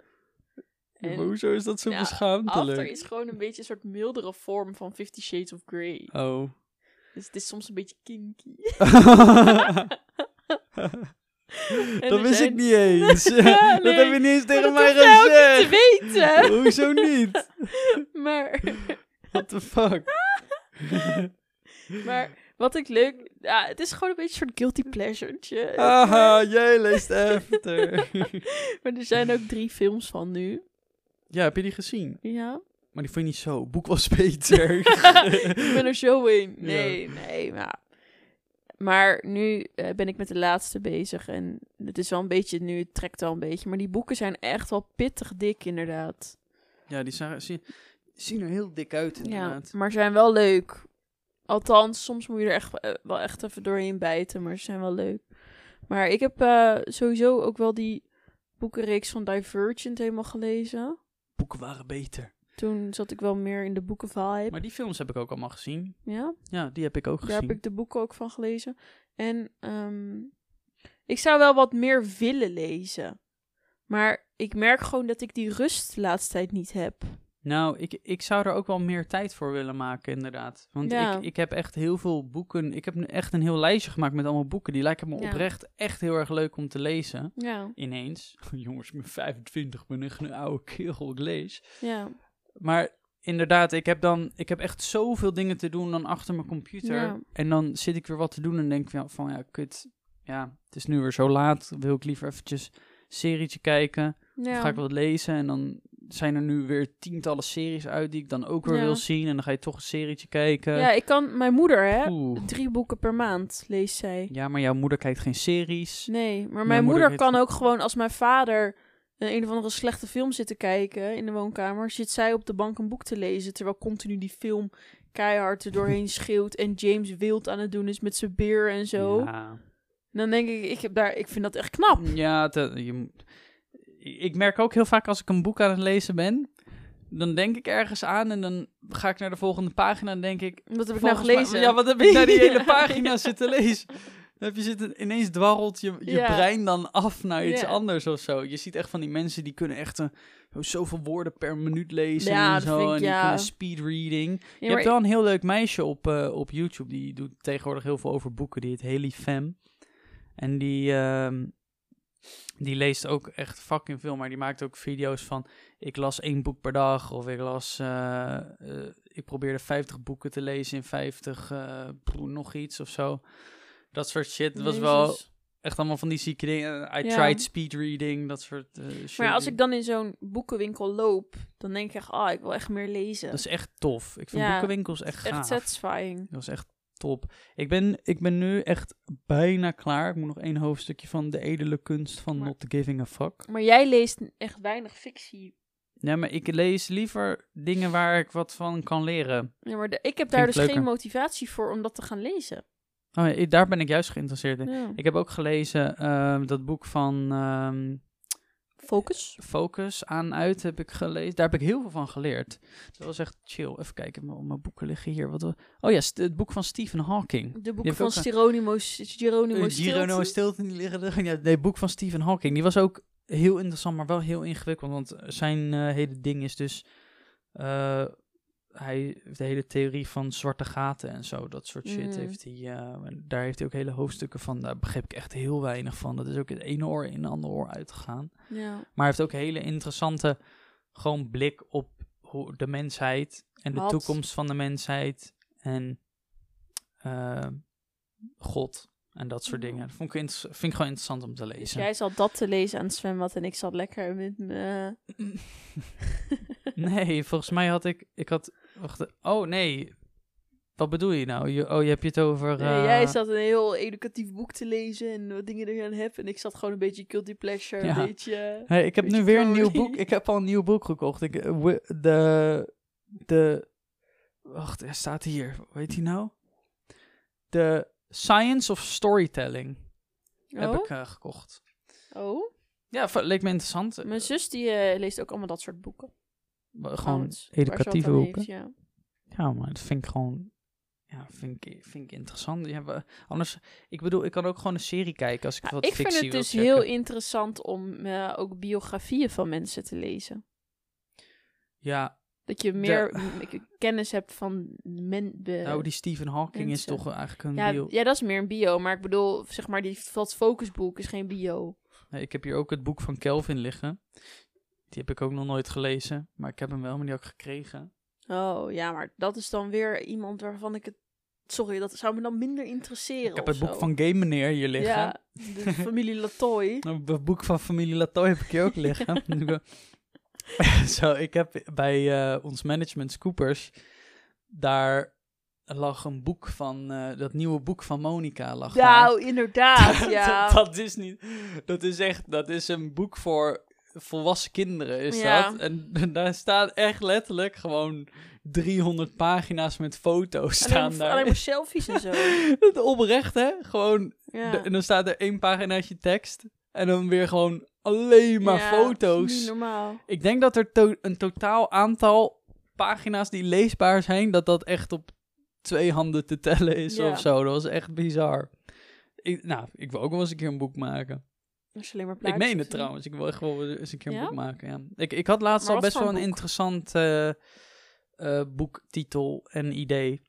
[SPEAKER 1] Ja, maar
[SPEAKER 2] En
[SPEAKER 1] hoezo is dat zo
[SPEAKER 2] Ja, After
[SPEAKER 1] beschaamdelijk?
[SPEAKER 2] is gewoon een beetje een soort mildere vorm van Fifty Shades of Grey.
[SPEAKER 1] Oh.
[SPEAKER 2] Dus het is soms een beetje kinky.
[SPEAKER 1] dat
[SPEAKER 2] er
[SPEAKER 1] wist
[SPEAKER 2] zijn-
[SPEAKER 1] ik niet eens.
[SPEAKER 2] Ja,
[SPEAKER 1] Dat
[SPEAKER 2] nee,
[SPEAKER 1] heb je niet eens tegen
[SPEAKER 2] maar
[SPEAKER 1] mij
[SPEAKER 2] dat hoef jij ook niet
[SPEAKER 1] gezegd.
[SPEAKER 2] te weten.
[SPEAKER 1] Hoezo niet?
[SPEAKER 2] Maar,
[SPEAKER 1] What the fuck?
[SPEAKER 2] maar wat ik leuk... Ja, het is gewoon een beetje een soort guilty pleasure.
[SPEAKER 1] Haha, jij leest after.
[SPEAKER 2] Maar er zijn ook drie films van nu.
[SPEAKER 1] ja, heb je die gezien?
[SPEAKER 2] Ja.
[SPEAKER 1] Maar die vond je niet zo. Boek was beter.
[SPEAKER 2] ik ben er zo in. Nee, nee, maar... Maar nu eh, ben ik met de laatste bezig en het is wel een beetje, nu het trekt wel een beetje. Maar die boeken zijn echt wel pittig dik inderdaad.
[SPEAKER 1] ja, die zagen- zie- zien er heel dik uit inderdaad.
[SPEAKER 2] maar zijn wel leuk. Althans, soms moet je er echt, eh, wel echt even doorheen bijten, maar ze zijn wel leuk. Maar ik heb eh, sowieso ook wel die boekenreeks van Divergent helemaal gelezen.
[SPEAKER 1] Boeken waren beter.
[SPEAKER 2] Toen zat ik wel meer in de boekenvibe.
[SPEAKER 1] Maar die films heb ik ook allemaal gezien.
[SPEAKER 2] Ja,
[SPEAKER 1] Ja, die heb ik ook
[SPEAKER 2] Daar
[SPEAKER 1] gezien.
[SPEAKER 2] heb ik de boeken ook van gelezen. En ehm, ik zou wel wat meer willen lezen. Maar ik merk gewoon dat ik die rust de laatste tijd niet heb.
[SPEAKER 1] Nou, ik, ik zou er ook wel meer tijd voor willen maken, inderdaad. Want
[SPEAKER 2] Ja.
[SPEAKER 1] ik, ik heb echt heel veel boeken. Ik heb nu echt een heel lijstje gemaakt met allemaal boeken. Die lijken me
[SPEAKER 2] Ja.
[SPEAKER 1] oprecht echt heel erg leuk om te lezen.
[SPEAKER 2] Ja,
[SPEAKER 1] Ineens. Jongens, ik ben 25, ik ben echt een oude kerel, ik lees.
[SPEAKER 2] ja,
[SPEAKER 1] Maar inderdaad, ik heb dan ik heb echt zoveel dingen te doen dan achter mijn computer.
[SPEAKER 2] Ja.
[SPEAKER 1] En dan zit ik weer wat te doen en denk ik van, van ja, kut. Ja, het is nu weer zo laat. Wil ik liever eventjes een serietje kijken. Of
[SPEAKER 2] ja.
[SPEAKER 1] ga ik wat lezen en dan zijn er nu weer tientallen series uit die ik dan ook weer
[SPEAKER 2] Ja.
[SPEAKER 1] wil zien. En dan ga je toch een serietje kijken.
[SPEAKER 2] ja, ik kan... Mijn moeder, hè?
[SPEAKER 1] Oeh.
[SPEAKER 2] Drie boeken per maand leest zij.
[SPEAKER 1] Ja, maar jouw moeder kijkt geen series.
[SPEAKER 2] Nee, maar mijn,
[SPEAKER 1] moeder
[SPEAKER 2] moeder
[SPEAKER 1] heeft-
[SPEAKER 2] kan ook gewoon... Als mijn vader eh, een of andere slechte film zit te kijken in de woonkamer... zit zij op de bank een boek te lezen... terwijl continu die film keihard er doorheen schreeuwt... en James wild aan het doen is met zijn beer en zo.
[SPEAKER 1] Ja,
[SPEAKER 2] En Dan denk ik, ik, heb daar, ik vind dat echt knap.
[SPEAKER 1] ja te- je, moet- ik merk ook heel vaak als ik een boek aan het lezen ben, dan denk ik ergens aan en dan ga ik naar de volgende pagina en denk ik...
[SPEAKER 2] Wat heb ik nou
[SPEAKER 1] volgens mij-
[SPEAKER 2] gelezen?
[SPEAKER 1] ja, wat heb ik naar die hele
[SPEAKER 2] Ja.
[SPEAKER 1] pagina zitten lezen? Dan heb je zitten, ineens dwarrelt je, je
[SPEAKER 2] Ja.
[SPEAKER 1] brein dan af naar iets
[SPEAKER 2] Ja.
[SPEAKER 1] anders of zo. Je ziet echt van die mensen die kunnen echt een, zoveel woorden per minuut lezen
[SPEAKER 2] Ja,
[SPEAKER 1] en
[SPEAKER 2] dat
[SPEAKER 1] zo.
[SPEAKER 2] vind ik-
[SPEAKER 1] en die
[SPEAKER 2] ja.
[SPEAKER 1] kunnen speedreading.
[SPEAKER 2] Ja,
[SPEAKER 1] Je
[SPEAKER 2] maar
[SPEAKER 1] hebt wel een heel leuk meisje op, eh, op YouTube. Die doet tegenwoordig heel veel over boeken. Die heet Haley Fem. En die, ehm, die leest ook echt fucking veel. Maar die maakt ook video's van... Ik las één boek per dag. Of ik las... eh, eh, ik probeerde 50 boeken te lezen in 50... eh, broer, nog iets of zo. Dat soort shit. Dat was wel
[SPEAKER 2] Jezus.
[SPEAKER 1] echt allemaal van die zieke dingen. I
[SPEAKER 2] Ja.
[SPEAKER 1] tried speedreading. Dat soort eh, shit.
[SPEAKER 2] Maar ja, als ik dan in zo'n boekenwinkel loop, dan denk ik echt, ah, ik wil echt meer lezen.
[SPEAKER 1] Dat is echt tof. Ik vind
[SPEAKER 2] Ja.
[SPEAKER 1] boekenwinkels echt gaaf.
[SPEAKER 2] echt satisfying.
[SPEAKER 1] Dat was echt top. Ik ben, ik ben nu echt bijna klaar. Ik moet nog één hoofdstukje van De Edele Kunst van
[SPEAKER 2] Maar-
[SPEAKER 1] Not Giving a Fuck.
[SPEAKER 2] Maar jij leest echt weinig fictie.
[SPEAKER 1] Ja, maar ik lees liever dingen waar ik wat van kan leren.
[SPEAKER 2] Ja, maar de- ik heb
[SPEAKER 1] ik
[SPEAKER 2] daar dus
[SPEAKER 1] leuker.
[SPEAKER 2] geen motivatie voor om dat te gaan lezen.
[SPEAKER 1] Oh, ja, ik- daar ben ik juist geïnteresseerd in.
[SPEAKER 2] Ja.
[SPEAKER 1] Ik heb ook gelezen ehm, dat boek van ehm,
[SPEAKER 2] Focus.
[SPEAKER 1] Focus aan uit heb ik gelezen. Daar heb ik heel veel van geleerd. Dat was echt chill. Even kijken, mijn, mijn boeken liggen hier. Wat, oh ja, st- het boek van Stephen Hawking.
[SPEAKER 2] De
[SPEAKER 1] hebt
[SPEAKER 2] boeken van
[SPEAKER 1] ook een-
[SPEAKER 2] Geronimo, Geronimo
[SPEAKER 1] Eh, Girona en
[SPEAKER 2] Stilton.
[SPEAKER 1] Stilton die liggen er. Ja, nee, het boek van Stephen Hawking. Die was ook heel interessant, maar wel heel ingewikkeld. Want zijn eh, hele ding is dus... eh, hij heeft de hele theorie van zwarte gaten en zo. Dat soort shit
[SPEAKER 2] Mm.
[SPEAKER 1] heeft hij... eh, en daar heeft hij ook hele hoofdstukken van. Daar begreep ik echt heel weinig van. Dat is ook het ene oor in het andere oor uitgegaan.
[SPEAKER 2] Ja.
[SPEAKER 1] Maar hij heeft ook een hele interessante... Gewoon blik op hoe de mensheid... En de
[SPEAKER 2] Had.
[SPEAKER 1] toekomst van de mensheid. En... eh, God en dat soort dingen. Dat vond ik, inter- vind ik gewoon interessant om te
[SPEAKER 2] Dus
[SPEAKER 1] lezen.
[SPEAKER 2] jij zat dat te lezen aan het zwembad en ik zat lekker met me.
[SPEAKER 1] Nee, volgens mij had ik... Ik had... Wacht, eh, oh nee. Wat bedoel je nou? Je, oh, je hebt je het over...
[SPEAKER 2] Nee,
[SPEAKER 1] eh,
[SPEAKER 2] jij zat een heel educatief boek te lezen en wat dingen er aan hebt. En ik zat gewoon een beetje guilty pleasure,
[SPEAKER 1] Ja.
[SPEAKER 2] een beetje...
[SPEAKER 1] Hey, ik heb
[SPEAKER 2] Beetje
[SPEAKER 1] nu weer een nieuw
[SPEAKER 2] curry.
[SPEAKER 1] boek. Ik heb al een nieuw boek gekocht. Ik, eh, wi- de, de. Wacht, er staat hier. Weet hij nou? De Science of Storytelling heb
[SPEAKER 2] Oh?
[SPEAKER 1] ik eh, gekocht.
[SPEAKER 2] oh,
[SPEAKER 1] Ja, va- leek me interessant.
[SPEAKER 2] mijn zus die eh, leest ook allemaal dat soort boeken.
[SPEAKER 1] Eh, gewoon
[SPEAKER 2] trouwens, waar ze wat
[SPEAKER 1] educatieve
[SPEAKER 2] aan
[SPEAKER 1] boeken.
[SPEAKER 2] heeft, ja.
[SPEAKER 1] Ja, maar dat vind ik gewoon. Ja, vind ik, vind ik interessant. Ja, we- anders, ik bedoel, ik kan ook gewoon een serie kijken als ik
[SPEAKER 2] Ja,
[SPEAKER 1] wat
[SPEAKER 2] ik
[SPEAKER 1] fictie
[SPEAKER 2] vind het
[SPEAKER 1] wil
[SPEAKER 2] dus
[SPEAKER 1] checken.
[SPEAKER 2] heel interessant om eh, ook biografieën van mensen te lezen.
[SPEAKER 1] Ja,
[SPEAKER 2] Dat je meer m- kennis hebt van men... de-
[SPEAKER 1] nou, die Stephen Hawking is
[SPEAKER 2] mensen.
[SPEAKER 1] toch eigenlijk een
[SPEAKER 2] ja,
[SPEAKER 1] bio.
[SPEAKER 2] ja, dat is meer een bio. Maar ik bedoel, zeg maar, die, dat focusboek is geen bio.
[SPEAKER 1] Nee, ik heb hier ook het boek van Kelvin liggen. Die heb ik ook nog nooit gelezen, maar ik heb hem wel, maar die had ik gekregen.
[SPEAKER 2] Oh, ja, maar dat is dan weer iemand waarvan ik het... Sorry, dat zou me dan minder interesseren
[SPEAKER 1] Ik heb
[SPEAKER 2] of
[SPEAKER 1] het boek
[SPEAKER 2] zo.
[SPEAKER 1] van Game Meneer hier liggen. Nou,
[SPEAKER 2] Ja, de familie Latoy.
[SPEAKER 1] Het boek van familie Latoy heb ik hier ook liggen. Zo, ik heb bij eh, ons management Scoopers, daar lag een boek van, eh, dat nieuwe boek van Monica lag daar.
[SPEAKER 2] Nou, inderdaad, ja.
[SPEAKER 1] dat, dat is niet, dat is echt, dat is een boek voor volwassen kinderen, is
[SPEAKER 2] Ja.
[SPEAKER 1] dat. En, daar staan echt letterlijk gewoon 300 pagina's met foto's staan
[SPEAKER 2] alleen, maar- alleen
[SPEAKER 1] daar.
[SPEAKER 2] maar selfies en zo.
[SPEAKER 1] Dat oprecht, hè? Gewoon,
[SPEAKER 2] Ja.
[SPEAKER 1] de- en dan staat er één paginaatje tekst en dan weer gewoon alleen maar
[SPEAKER 2] Ja, Niet
[SPEAKER 1] foto's.
[SPEAKER 2] normaal.
[SPEAKER 1] Ik denk dat er to- een totaal aantal pagina's die leesbaar zijn, dat dat echt op twee handen te tellen is
[SPEAKER 2] Ja.
[SPEAKER 1] of zo. Dat was echt bizar. Ik, nou, ik wil ook wel eens een keer een boek maken.
[SPEAKER 2] Als je alleen maar
[SPEAKER 1] Ik
[SPEAKER 2] plaatjes
[SPEAKER 1] meen het
[SPEAKER 2] hebt.
[SPEAKER 1] trouwens. Ik wil echt wel eens een keer een
[SPEAKER 2] Ja?
[SPEAKER 1] boek maken. Ja. Ik, ik had laatst
[SPEAKER 2] Maar
[SPEAKER 1] al
[SPEAKER 2] wat
[SPEAKER 1] best wel
[SPEAKER 2] voor
[SPEAKER 1] een
[SPEAKER 2] boek?
[SPEAKER 1] interessant eh, eh, boektitel en idee.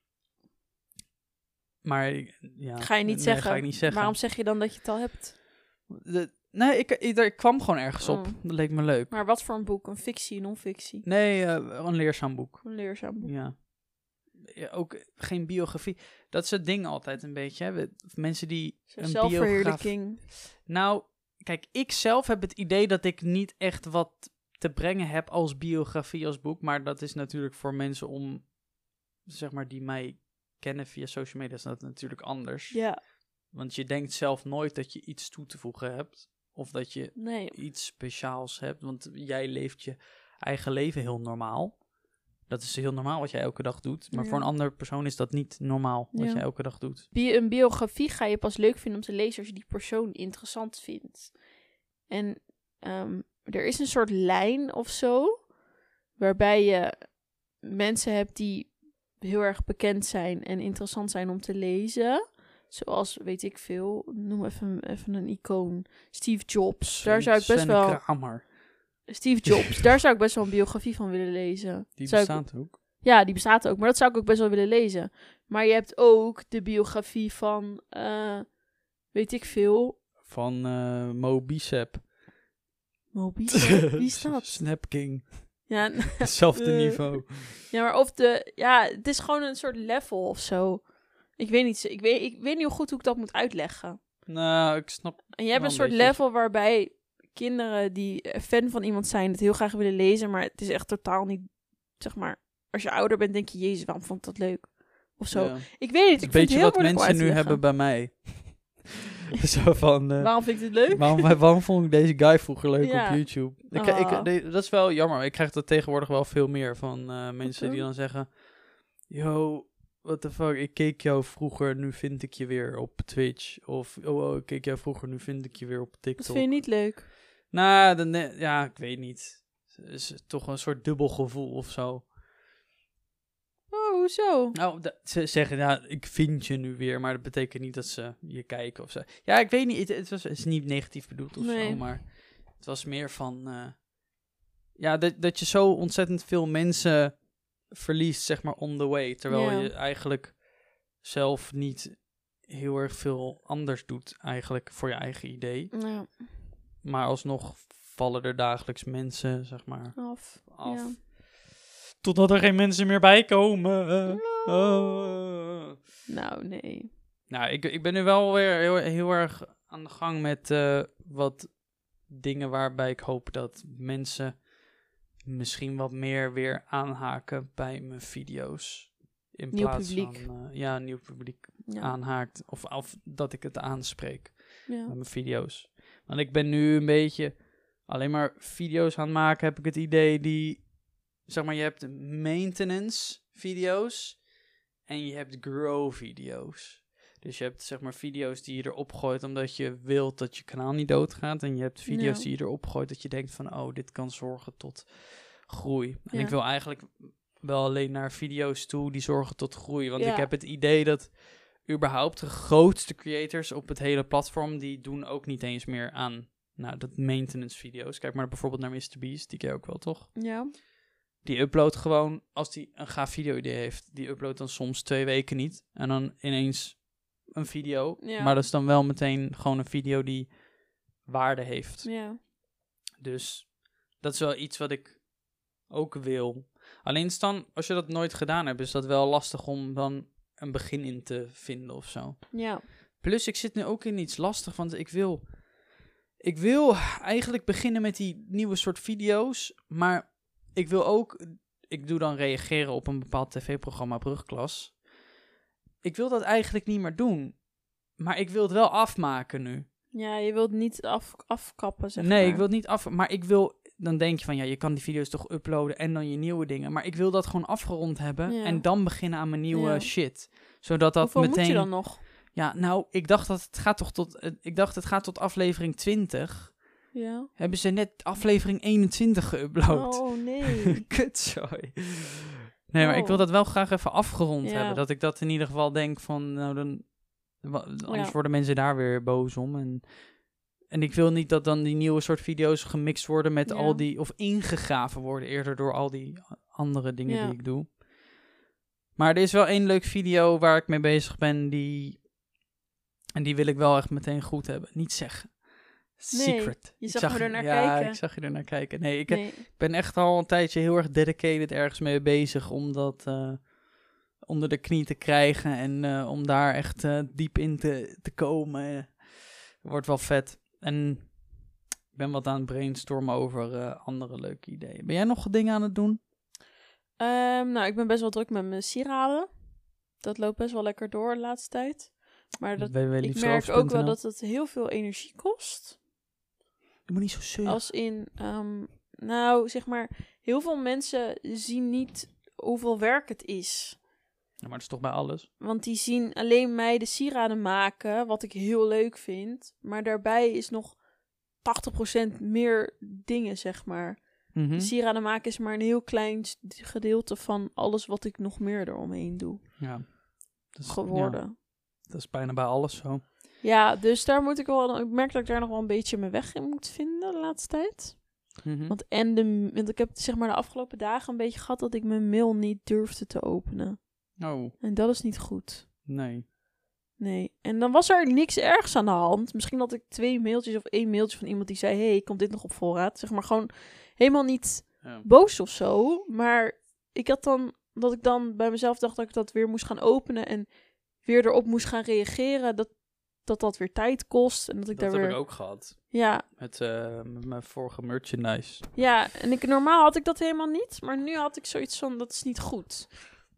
[SPEAKER 1] Maar ik- ja,
[SPEAKER 2] Ga je niet
[SPEAKER 1] nee,
[SPEAKER 2] zeggen.
[SPEAKER 1] Ga ik niet zeggen.
[SPEAKER 2] Waarom zeg je dan dat je het al hebt?
[SPEAKER 1] De- nee, ik, ik, daar- ik kwam gewoon ergens op.
[SPEAKER 2] Oh.
[SPEAKER 1] Dat leek me leuk.
[SPEAKER 2] Maar wat voor een boek? Een fictie, non-fictie?
[SPEAKER 1] Nee, eh, een leerzaam boek.
[SPEAKER 2] Een leerzaam boek.
[SPEAKER 1] Ja. Ja, Ook geen biografie. Dat is het ding altijd een beetje. Hè. We- Mensen die
[SPEAKER 2] Zo'n
[SPEAKER 1] een biografie...
[SPEAKER 2] Zelfverheerlijking.
[SPEAKER 1] Nou, kijk, ik zelf heb het idee dat ik niet echt wat te brengen heb als biografie, als boek. Maar dat is natuurlijk voor mensen om, zeg maar, die mij kennen via social media, is dat natuurlijk anders.
[SPEAKER 2] Ja,
[SPEAKER 1] Want je denkt zelf nooit dat je iets toe te voegen hebt. Of dat je
[SPEAKER 2] nee.
[SPEAKER 1] iets speciaals hebt. Want jij leeft je eigen leven heel normaal. Dat is heel normaal wat jij elke dag doet. Maar
[SPEAKER 2] Ja.
[SPEAKER 1] voor een andere persoon is dat niet normaal wat
[SPEAKER 2] Ja.
[SPEAKER 1] jij elke dag doet.
[SPEAKER 2] Bi- een biografie ga je pas leuk vinden om te lezen als je die persoon interessant vindt. En ehm, er is een soort lijn of zo, waarbij je mensen hebt die heel erg bekend zijn en interessant zijn om te lezen. Zoals, weet ik veel, noem even, even een icoon. Steve Jobs. Daar zou ik best
[SPEAKER 1] Sven
[SPEAKER 2] wel...
[SPEAKER 1] Kramer,
[SPEAKER 2] Steve Jobs. daar zou ik best wel een biografie van willen lezen.
[SPEAKER 1] die
[SPEAKER 2] Zou ik-
[SPEAKER 1] bestaat ook.
[SPEAKER 2] ja, die bestaat ook. Maar dat zou ik ook best wel willen lezen. Maar je hebt ook de biografie van, eh, weet ik veel,
[SPEAKER 1] Van eh Mo Bicep.
[SPEAKER 2] Mobisa. Wie is dat?
[SPEAKER 1] Snap King.
[SPEAKER 2] Ja, n-
[SPEAKER 1] Hetzelfde
[SPEAKER 2] Eh.
[SPEAKER 1] niveau.
[SPEAKER 2] ja, maar of de, ja, het is gewoon een soort level of zo. Ik weet niet, zo- ik weet, ik weet niet hoe goed hoe ik dat moet uitleggen.
[SPEAKER 1] Nou, ik snap.
[SPEAKER 2] En je hebt
[SPEAKER 1] Wel
[SPEAKER 2] een
[SPEAKER 1] een
[SPEAKER 2] soort
[SPEAKER 1] beetje.
[SPEAKER 2] level waarbij kinderen die eh, fan van iemand zijn, het heel graag willen lezen, maar het is echt totaal niet, zeg maar, als je ouder bent, denk je, jezus, waarom vond ik dat leuk? Of zo.
[SPEAKER 1] ja.
[SPEAKER 2] Ik weet niet, ik vind
[SPEAKER 1] Weet
[SPEAKER 2] het
[SPEAKER 1] je
[SPEAKER 2] heel
[SPEAKER 1] wat
[SPEAKER 2] moeilijk
[SPEAKER 1] mensen
[SPEAKER 2] om uit te
[SPEAKER 1] nu
[SPEAKER 2] leggen.
[SPEAKER 1] hebben bij mij? Zo van. eh,
[SPEAKER 2] Waarom vind ik dit leuk?
[SPEAKER 1] Waarom, waarom vond ik deze guy vroeger leuk
[SPEAKER 2] Ja.
[SPEAKER 1] op YouTube? Ik,
[SPEAKER 2] Ah.
[SPEAKER 1] ik, de- dat is wel jammer. Ik krijg dat tegenwoordig wel veel meer van eh, mensen die
[SPEAKER 2] dan?
[SPEAKER 1] dan zeggen... Yo, what the fuck, ik keek jou vroeger, nu vind ik je weer op Twitch. Of, oh, oh, ik keek jou vroeger, nu vind ik je weer op
[SPEAKER 2] Dat
[SPEAKER 1] TikTok.
[SPEAKER 2] vind je niet leuk.
[SPEAKER 1] Nou, dan, ne- ja, ik weet niet. Het is toch een soort dubbel gevoel of zo.
[SPEAKER 2] Oh, hoezo?
[SPEAKER 1] Nou, da- ze zeggen, nou, ik vind je nu weer, maar dat betekent niet dat ze je kijken of zo. Ja, ik weet niet, het, het was, het is niet negatief bedoeld of
[SPEAKER 2] Nee.
[SPEAKER 1] zo, maar het was meer van, eh, ja, dat, dat je zo ontzettend veel mensen verliest, zeg maar, on the way. Terwijl
[SPEAKER 2] Ja.
[SPEAKER 1] je eigenlijk zelf niet heel erg veel anders doet eigenlijk voor je eigen idee.
[SPEAKER 2] Ja,
[SPEAKER 1] Maar alsnog vallen er dagelijks mensen, zeg maar,
[SPEAKER 2] af.
[SPEAKER 1] af.
[SPEAKER 2] Ja.
[SPEAKER 1] Totdat er geen mensen meer bij komen. Oh.
[SPEAKER 2] Nou, nee.
[SPEAKER 1] Nou, ik, ik ben nu wel weer heel, heel erg aan de gang met eh, wat dingen waarbij ik hoop dat mensen misschien wat meer weer aanhaken bij mijn video's. in
[SPEAKER 2] Nieuw
[SPEAKER 1] plaats
[SPEAKER 2] publiek.
[SPEAKER 1] van eh, ja, nieuw publiek
[SPEAKER 2] Ja.
[SPEAKER 1] aanhaakt. Of, of dat ik het aanspreek
[SPEAKER 2] Ja.
[SPEAKER 1] met mijn video's. Want ik ben nu een beetje alleen maar video's aan het maken, heb ik het idee die, zeg maar, je hebt maintenance video's en je hebt grow video's. Dus je hebt zeg maar video's die je erop gooit omdat je wilt dat je kanaal niet doodgaat. En je hebt video's
[SPEAKER 2] Ja.
[SPEAKER 1] die je erop gooit dat je denkt van oh, dit kan zorgen tot groei. En
[SPEAKER 2] Ja.
[SPEAKER 1] ik wil eigenlijk wel alleen naar video's toe die zorgen tot groei. Want
[SPEAKER 2] Ja.
[SPEAKER 1] ik heb het idee dat überhaupt de grootste creators op het hele platform, die doen ook niet eens meer aan nou, dat maintenance video's. Kijk maar bijvoorbeeld naar MrBeast, die ken je ook wel toch?
[SPEAKER 2] Ja.
[SPEAKER 1] Die uploadt gewoon, als die een gaaf video idee heeft, die uploadt dan soms twee weken niet. En dan ineens een video.
[SPEAKER 2] Ja.
[SPEAKER 1] Maar dat is dan wel meteen gewoon een video die waarde heeft.
[SPEAKER 2] Ja.
[SPEAKER 1] Dus dat is wel iets wat ik ook wil. Alleen Stan, als je dat nooit gedaan hebt, is dat wel lastig om dan een begin in te vinden of zo.
[SPEAKER 2] Ja.
[SPEAKER 1] Plus, ik zit nu ook in iets lastig, want ik wil. Ik wil eigenlijk beginnen met die nieuwe soort video's. Maar ik wil ook. Ik doe dan reageren op een bepaald tv-programma Brugklas. Ik wil dat eigenlijk niet meer doen. Maar ik wil het wel afmaken nu.
[SPEAKER 2] Ja, je wilt niet af, afkappen, zeg
[SPEAKER 1] nee,
[SPEAKER 2] maar.
[SPEAKER 1] ik wil het niet af. Maar ik wil. Dan denk je van ja, je kan die video's toch uploaden en dan je nieuwe dingen. Maar ik wil dat gewoon afgerond hebben
[SPEAKER 2] Ja.
[SPEAKER 1] en dan beginnen aan mijn nieuwe
[SPEAKER 2] Ja.
[SPEAKER 1] shit. Zodat dat
[SPEAKER 2] Hoeveel
[SPEAKER 1] meteen.
[SPEAKER 2] moet je dan nog?
[SPEAKER 1] Ja, nou, ik dacht dat het gaat toch tot. eh, Ik dacht het gaat tot aflevering 20.
[SPEAKER 2] Ja.
[SPEAKER 1] Hebben ze net aflevering 21 geüpload?
[SPEAKER 2] Oh, nee.
[SPEAKER 1] Kutzooi. Nee, maar ik
[SPEAKER 2] Oh.
[SPEAKER 1] wil dat wel graag even afgerond
[SPEAKER 2] Ja.
[SPEAKER 1] hebben. Dat ik dat in ieder geval denk van, nou dan... wa- Anders
[SPEAKER 2] Ja.
[SPEAKER 1] worden mensen daar weer boos om. En, en ik wil niet dat dan die nieuwe soort video's gemixt worden met
[SPEAKER 2] Ja.
[SPEAKER 1] al die... Of ingegraven worden eerder door al die andere dingen
[SPEAKER 2] Ja.
[SPEAKER 1] die ik doe. Maar er is wel één leuk video waar ik mee bezig ben die... En die wil ik wel echt meteen goed hebben. Niet zeggen.
[SPEAKER 2] Nee,
[SPEAKER 1] Secret.
[SPEAKER 2] je
[SPEAKER 1] Ik
[SPEAKER 2] zag me ernaar
[SPEAKER 1] ja,
[SPEAKER 2] kijken.
[SPEAKER 1] ik zag je er naar kijken. Nee, ik, heb
[SPEAKER 2] nee.
[SPEAKER 1] ik ben echt al een tijdje heel erg dedicated ergens mee bezig om dat eh, onder de knie te krijgen en eh, om daar echt eh, diep in te, te komen. Eh, Wordt wel vet. En ik ben wat aan het brainstormen over eh, andere leuke ideeën. Ben jij nog dingen aan het doen?
[SPEAKER 2] Ehm, nou, ik ben best wel druk met mijn sieraden. Dat loopt best wel lekker door de laatste tijd. Maar dat, ik merk ook wel dat het heel veel energie kost.
[SPEAKER 1] Je moet niet zo zeuren.
[SPEAKER 2] Als in, ehm, nou, zeg maar, heel veel mensen zien niet hoeveel werk het is.
[SPEAKER 1] Ja, maar dat is toch bij alles.
[SPEAKER 2] Want die zien alleen mij de sieraden maken, wat ik heel leuk vind. Maar daarbij is nog 80% meer dingen, zeg maar.
[SPEAKER 1] Mhm.
[SPEAKER 2] Sieraden maken is maar een heel klein s- gedeelte van alles wat ik nog meer eromheen doe
[SPEAKER 1] Ja. Dat is,
[SPEAKER 2] geworden.
[SPEAKER 1] ja, dat is bijna bij alles zo.
[SPEAKER 2] Ja, dus daar moet ik wel. Ik merk dat ik daar nog wel een beetje mijn weg in moet vinden de laatste tijd.
[SPEAKER 1] Mhm.
[SPEAKER 2] Want, en de, want ik heb zeg maar de afgelopen dagen een beetje gehad dat ik mijn mail niet durfde te openen.
[SPEAKER 1] Oh,
[SPEAKER 2] En dat is niet goed.
[SPEAKER 1] nee.
[SPEAKER 2] Nee. En dan was er niks ergs aan de hand. Misschien had ik twee mailtjes of één mailtje van iemand die zei: hey, komt dit nog op voorraad? Zeg maar gewoon helemaal niet
[SPEAKER 1] Ja.
[SPEAKER 2] boos of zo. Maar ik had dan dat ik dan bij mezelf dacht dat ik dat weer moest gaan openen en weer erop moest gaan reageren. Dat dat, dat weer tijd kost. En dat ik
[SPEAKER 1] dat
[SPEAKER 2] daar
[SPEAKER 1] heb
[SPEAKER 2] weer.
[SPEAKER 1] ik ook gehad.
[SPEAKER 2] Ja,
[SPEAKER 1] Met, eh, met mijn vorige merchandise.
[SPEAKER 2] Ja, en ik, normaal had ik dat helemaal niet. Maar nu had ik zoiets van, dat is niet goed.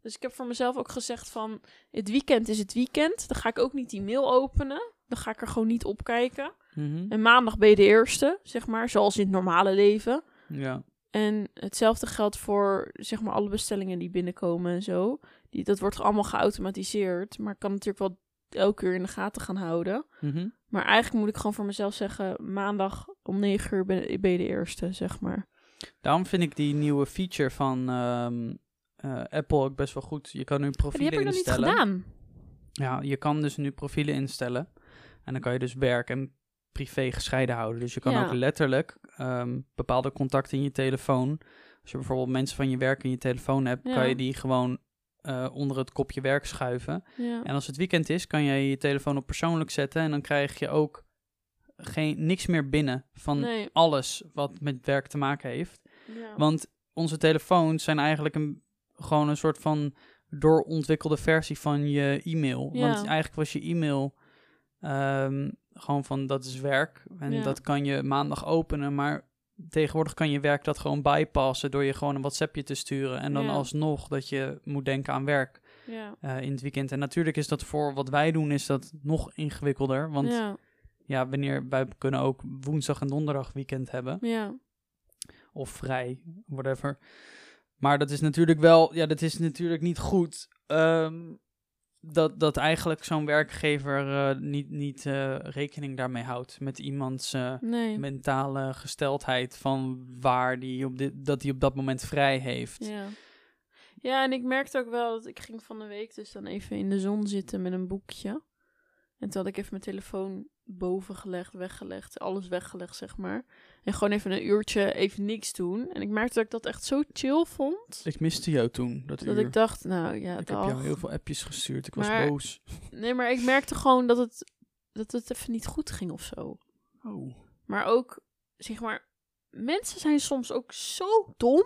[SPEAKER 2] Dus ik heb voor mezelf ook gezegd van, het weekend is het weekend. Dan ga ik ook niet die mail openen. Dan ga ik er gewoon niet op kijken.
[SPEAKER 1] Mhm.
[SPEAKER 2] En maandag ben je de eerste, zeg maar, zoals in het normale leven.
[SPEAKER 1] Ja.
[SPEAKER 2] En hetzelfde geldt voor, zeg maar, alle bestellingen die binnenkomen en zo. Die, dat wordt allemaal geautomatiseerd. Maar ik kan natuurlijk wel elke uur in de gaten gaan houden. Maar eigenlijk moet ik gewoon voor mezelf zeggen, maandag om negen uur ben, ben je de eerste, zeg maar.
[SPEAKER 1] Daarom vind ik die nieuwe feature van ehm, eh, Apple ook best wel goed. Je kan nu
[SPEAKER 2] Maar
[SPEAKER 1] profielen
[SPEAKER 2] die heb ik nog niet
[SPEAKER 1] instellen.
[SPEAKER 2] gedaan.
[SPEAKER 1] Ja, je kan dus nu profielen instellen. En dan kan je dus werk en privé gescheiden houden. Dus je kan
[SPEAKER 2] Ja.
[SPEAKER 1] ook letterlijk ehm, bepaalde contacten in je telefoon. Als je bijvoorbeeld mensen van je werk in je telefoon hebt,
[SPEAKER 2] Ja.
[SPEAKER 1] kan je die gewoon eh, onder het kopje werk schuiven.
[SPEAKER 2] Ja.
[SPEAKER 1] En als het weekend is, kan jij je telefoon op persoonlijk zetten. En dan krijg je ook geen, niks meer binnen van
[SPEAKER 2] nee.
[SPEAKER 1] alles wat met werk te maken heeft.
[SPEAKER 2] Ja.
[SPEAKER 1] Want onze telefoons zijn eigenlijk een, gewoon een soort van doorontwikkelde versie van je e-mail.
[SPEAKER 2] Ja.
[SPEAKER 1] Want eigenlijk was je e-mail ehm, gewoon van dat is werk. En
[SPEAKER 2] Ja.
[SPEAKER 1] dat kan je maandag openen. Maar tegenwoordig kan je werk dat gewoon bypassen door je gewoon een WhatsAppje te sturen. En dan
[SPEAKER 2] Ja.
[SPEAKER 1] alsnog dat je moet denken aan werk.
[SPEAKER 2] Ja.
[SPEAKER 1] eh, in het weekend. En natuurlijk is dat voor wat wij doen, is dat nog ingewikkelder. Want ja,
[SPEAKER 2] ja.
[SPEAKER 1] wanneer wij kunnen ook woensdag en donderdag weekend hebben.
[SPEAKER 2] Ja.
[SPEAKER 1] Of vrij, whatever. Maar dat is natuurlijk wel, ja, dat is natuurlijk niet goed. ehm, dat, dat eigenlijk zo'n werkgever eh, niet, niet eh, rekening daarmee houdt met iemands eh,
[SPEAKER 2] Nee.
[SPEAKER 1] mentale gesteldheid van waar die op dit, dat hij op dat moment vrij heeft.
[SPEAKER 2] Ja. Ja, en ik merkte ook wel dat ik ging van de week dus dan even in de zon zitten met een boekje. En toen had ik even mijn telefoon boven gelegd, weggelegd, alles weggelegd, zeg maar. En gewoon even een uurtje even niks doen. En ik merkte dat ik dat echt zo chill vond.
[SPEAKER 1] Ik miste jou toen, dat,
[SPEAKER 2] Dat
[SPEAKER 1] uur.
[SPEAKER 2] ik dacht, nou ja,
[SPEAKER 1] ik heb
[SPEAKER 2] dag.
[SPEAKER 1] jou heel veel appjes gestuurd, ik was
[SPEAKER 2] Maar-
[SPEAKER 1] boos.
[SPEAKER 2] Nee, maar ik merkte gewoon dat het, dat het even niet goed ging of zo.
[SPEAKER 1] Oh.
[SPEAKER 2] Maar ook, zeg maar, mensen zijn soms ook zo dom.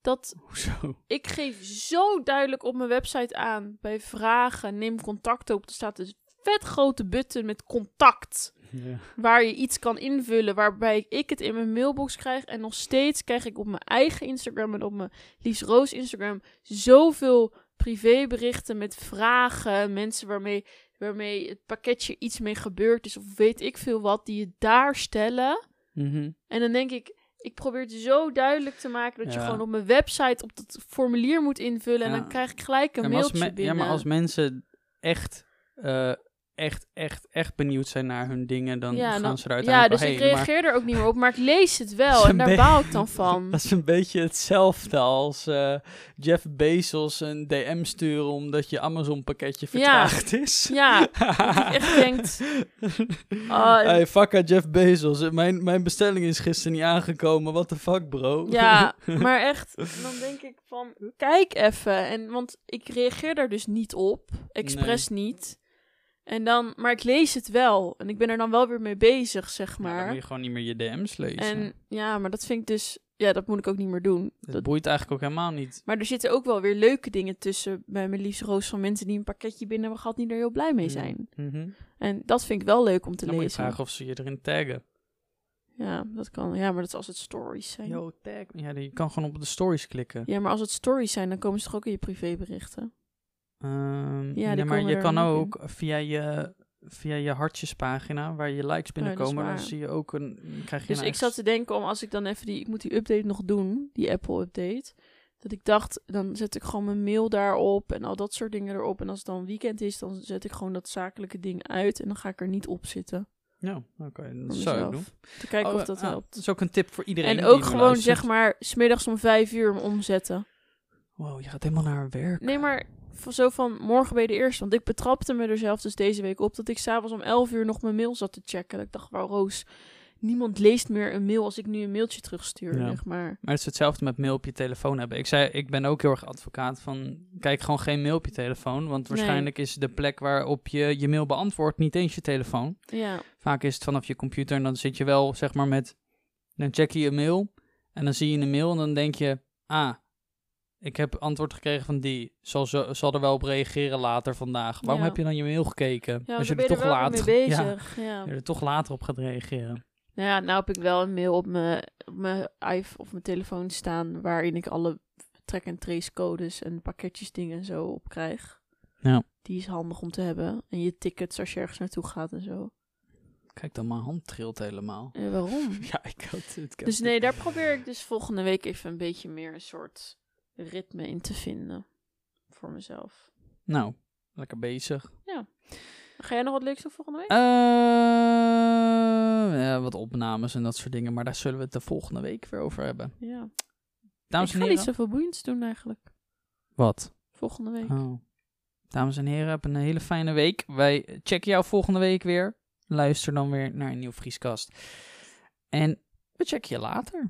[SPEAKER 2] Dat
[SPEAKER 1] Hoezo?
[SPEAKER 2] Ik geef zo duidelijk op mijn website aan. Bij vragen neem contact op. Er staat een vet grote button met contact.
[SPEAKER 1] Ja.
[SPEAKER 2] Waar je iets kan invullen. Waarbij ik het in mijn mailbox krijg. En nog steeds krijg ik op mijn eigen Instagram en op mijn Lies Roos Instagram zoveel privéberichten met vragen. Mensen waarmee, waarmee het pakketje iets mee gebeurd is. Of weet ik veel wat. Die je daar stellen.
[SPEAKER 1] Mhm.
[SPEAKER 2] En dan denk ik, ik probeer het zo duidelijk te maken dat je
[SPEAKER 1] Ja.
[SPEAKER 2] gewoon op mijn website op dat formulier moet invullen. En
[SPEAKER 1] Ja.
[SPEAKER 2] dan krijg ik gelijk een
[SPEAKER 1] Ja, maar als me-
[SPEAKER 2] mailtje
[SPEAKER 1] ja,
[SPEAKER 2] binnen.
[SPEAKER 1] maar als mensen echt, eh, echt, echt, echt benieuwd zijn naar hun dingen, dan
[SPEAKER 2] Ja,
[SPEAKER 1] gaan
[SPEAKER 2] dan-
[SPEAKER 1] ze eruit
[SPEAKER 2] Ja, dus ik reageer er ook niet meer op, maar ik lees het wel.
[SPEAKER 1] Ze
[SPEAKER 2] En daar
[SPEAKER 1] ben-
[SPEAKER 2] baal ik dan van.
[SPEAKER 1] Dat is een beetje hetzelfde als eh, Jeff Bezos een DM sturen omdat je Amazon pakketje vertraagd is.
[SPEAKER 2] Ja, dat je echt denkt, ah,
[SPEAKER 1] hey, fuck aan Jeff Bezos. eh, Mijn, mijn bestelling is gisteren niet aangekomen. What the fuck, bro?
[SPEAKER 2] ja, maar echt, dan denk ik van, kijk even. En, want ik reageer daar dus niet op, expres niet. En dan, maar ik lees het wel. En ik ben er dan wel weer mee bezig, zeg
[SPEAKER 1] Ja, dan
[SPEAKER 2] maar.
[SPEAKER 1] moet je gewoon niet meer je DM's lezen.
[SPEAKER 2] En ja, maar dat vind ik dus. Ja, dat moet ik ook niet meer doen.
[SPEAKER 1] dat,
[SPEAKER 2] Dat,
[SPEAKER 1] boeit eigenlijk ook helemaal niet.
[SPEAKER 2] maar er zitten ook wel weer leuke dingen tussen bij mijn liefste roos van mensen die een pakketje binnen hebben gehad, die er heel blij mee zijn.
[SPEAKER 1] Mhm.
[SPEAKER 2] En dat vind ik wel leuk om te
[SPEAKER 1] Dan moet je
[SPEAKER 2] lezen.
[SPEAKER 1] vragen of ze je erin taggen.
[SPEAKER 2] Ja, dat kan. Ja, maar dat is als het stories zijn.
[SPEAKER 1] Yo, tag. Ja, je kan gewoon op de stories klikken.
[SPEAKER 2] Ja, maar als het stories zijn, dan komen ze toch ook in je privéberichten.
[SPEAKER 1] Ehm,
[SPEAKER 2] Ja,
[SPEAKER 1] ja,
[SPEAKER 2] die
[SPEAKER 1] maar
[SPEAKER 2] komen
[SPEAKER 1] je
[SPEAKER 2] er
[SPEAKER 1] kan
[SPEAKER 2] ook
[SPEAKER 1] ook via je, via je hartjespagina, waar je likes
[SPEAKER 2] Oh, dat is
[SPEAKER 1] binnenkomen, dan
[SPEAKER 2] waar.
[SPEAKER 1] zie je ook een, krijg je
[SPEAKER 2] Dus
[SPEAKER 1] een
[SPEAKER 2] ik
[SPEAKER 1] ex-
[SPEAKER 2] zat te denken om als ik dan even die, ik moet die update nog doen, die Apple update. Dat ik dacht, dan zet ik gewoon mijn mail daarop en al dat soort dingen erop. En als het dan weekend is, dan zet ik gewoon dat zakelijke ding uit en dan ga ik er niet op zitten.
[SPEAKER 1] Ja, oké, dat
[SPEAKER 2] voor
[SPEAKER 1] zou ik
[SPEAKER 2] mezelf.
[SPEAKER 1] doen.
[SPEAKER 2] Te kijken
[SPEAKER 1] Oh,
[SPEAKER 2] of dat
[SPEAKER 1] ah,
[SPEAKER 2] helpt.
[SPEAKER 1] Dat is ook een tip voor iedereen
[SPEAKER 2] En
[SPEAKER 1] die
[SPEAKER 2] ook
[SPEAKER 1] nu
[SPEAKER 2] gewoon
[SPEAKER 1] luistert.
[SPEAKER 2] zeg maar, smiddags om vijf uur hem omzetten.
[SPEAKER 1] Wow, je gaat helemaal naar werk.
[SPEAKER 2] Nee, maar voor zo van morgen ben je de eerste. Want ik betrapte me er zelf dus deze week op dat ik s'avonds om elf uur nog mijn mail zat te checken. Dat Ik dacht, wauw Roos, niemand leest meer een mail als ik nu een mailtje terugstuur,
[SPEAKER 1] Ja.
[SPEAKER 2] zeg maar.
[SPEAKER 1] Maar het is hetzelfde met mail op je telefoon hebben. Ik zei, ik ben ook heel erg advocaat van, kijk gewoon geen mail op je telefoon, want
[SPEAKER 2] Nee.
[SPEAKER 1] waarschijnlijk is de plek waarop je je mail beantwoordt niet eens je telefoon.
[SPEAKER 2] Ja,
[SPEAKER 1] Vaak is het vanaf je computer en dan zit je wel, zeg maar, met... Dan check je je mail en dan zie je een mail en dan denk je... Ah, ik heb antwoord gekregen van die. Zal, zo, zal er wel op reageren later vandaag. Waarom
[SPEAKER 2] Ja.
[SPEAKER 1] heb je dan je mail gekeken?
[SPEAKER 2] ja
[SPEAKER 1] als
[SPEAKER 2] want
[SPEAKER 1] je
[SPEAKER 2] dan
[SPEAKER 1] er
[SPEAKER 2] ben je
[SPEAKER 1] toch
[SPEAKER 2] er wel weer
[SPEAKER 1] later...
[SPEAKER 2] mee
[SPEAKER 1] Ja,
[SPEAKER 2] bezig. Ja.
[SPEAKER 1] als je er toch later op gaat reageren.
[SPEAKER 2] Nou ja, nou heb ik wel een mail op mijn, op mijn iPhone of mijn telefoon staan waarin ik alle track en trace codes en pakketjes dingen en zo op krijg.
[SPEAKER 1] Ja.
[SPEAKER 2] Die is handig om te hebben. En je tickets als je ergens naartoe gaat en zo.
[SPEAKER 1] Kijk dan, mijn hand trilt helemaal.
[SPEAKER 2] Eh, waarom?
[SPEAKER 1] Ja, ik had het. ik had
[SPEAKER 2] dus
[SPEAKER 1] het.
[SPEAKER 2] nee, daar probeer ik dus volgende week even een beetje meer een soort ritme in te vinden. Voor mezelf.
[SPEAKER 1] Nou, lekker bezig.
[SPEAKER 2] Ga jij nog wat leuks doen volgende week?
[SPEAKER 1] Eh, ja, wat opnames en dat soort dingen. Maar daar zullen we het de volgende week weer over hebben.
[SPEAKER 2] Ja.
[SPEAKER 1] Eh, Dames
[SPEAKER 2] ik
[SPEAKER 1] en
[SPEAKER 2] ga niet
[SPEAKER 1] heren.
[SPEAKER 2] zoveel boeiends doen eigenlijk.
[SPEAKER 1] Wat?
[SPEAKER 2] Volgende week.
[SPEAKER 1] Oh. Dames en heren, heb een hele fijne week. Wij checken jou volgende week weer. Luister dan weer naar een nieuw Vrieskast. En we checken je later.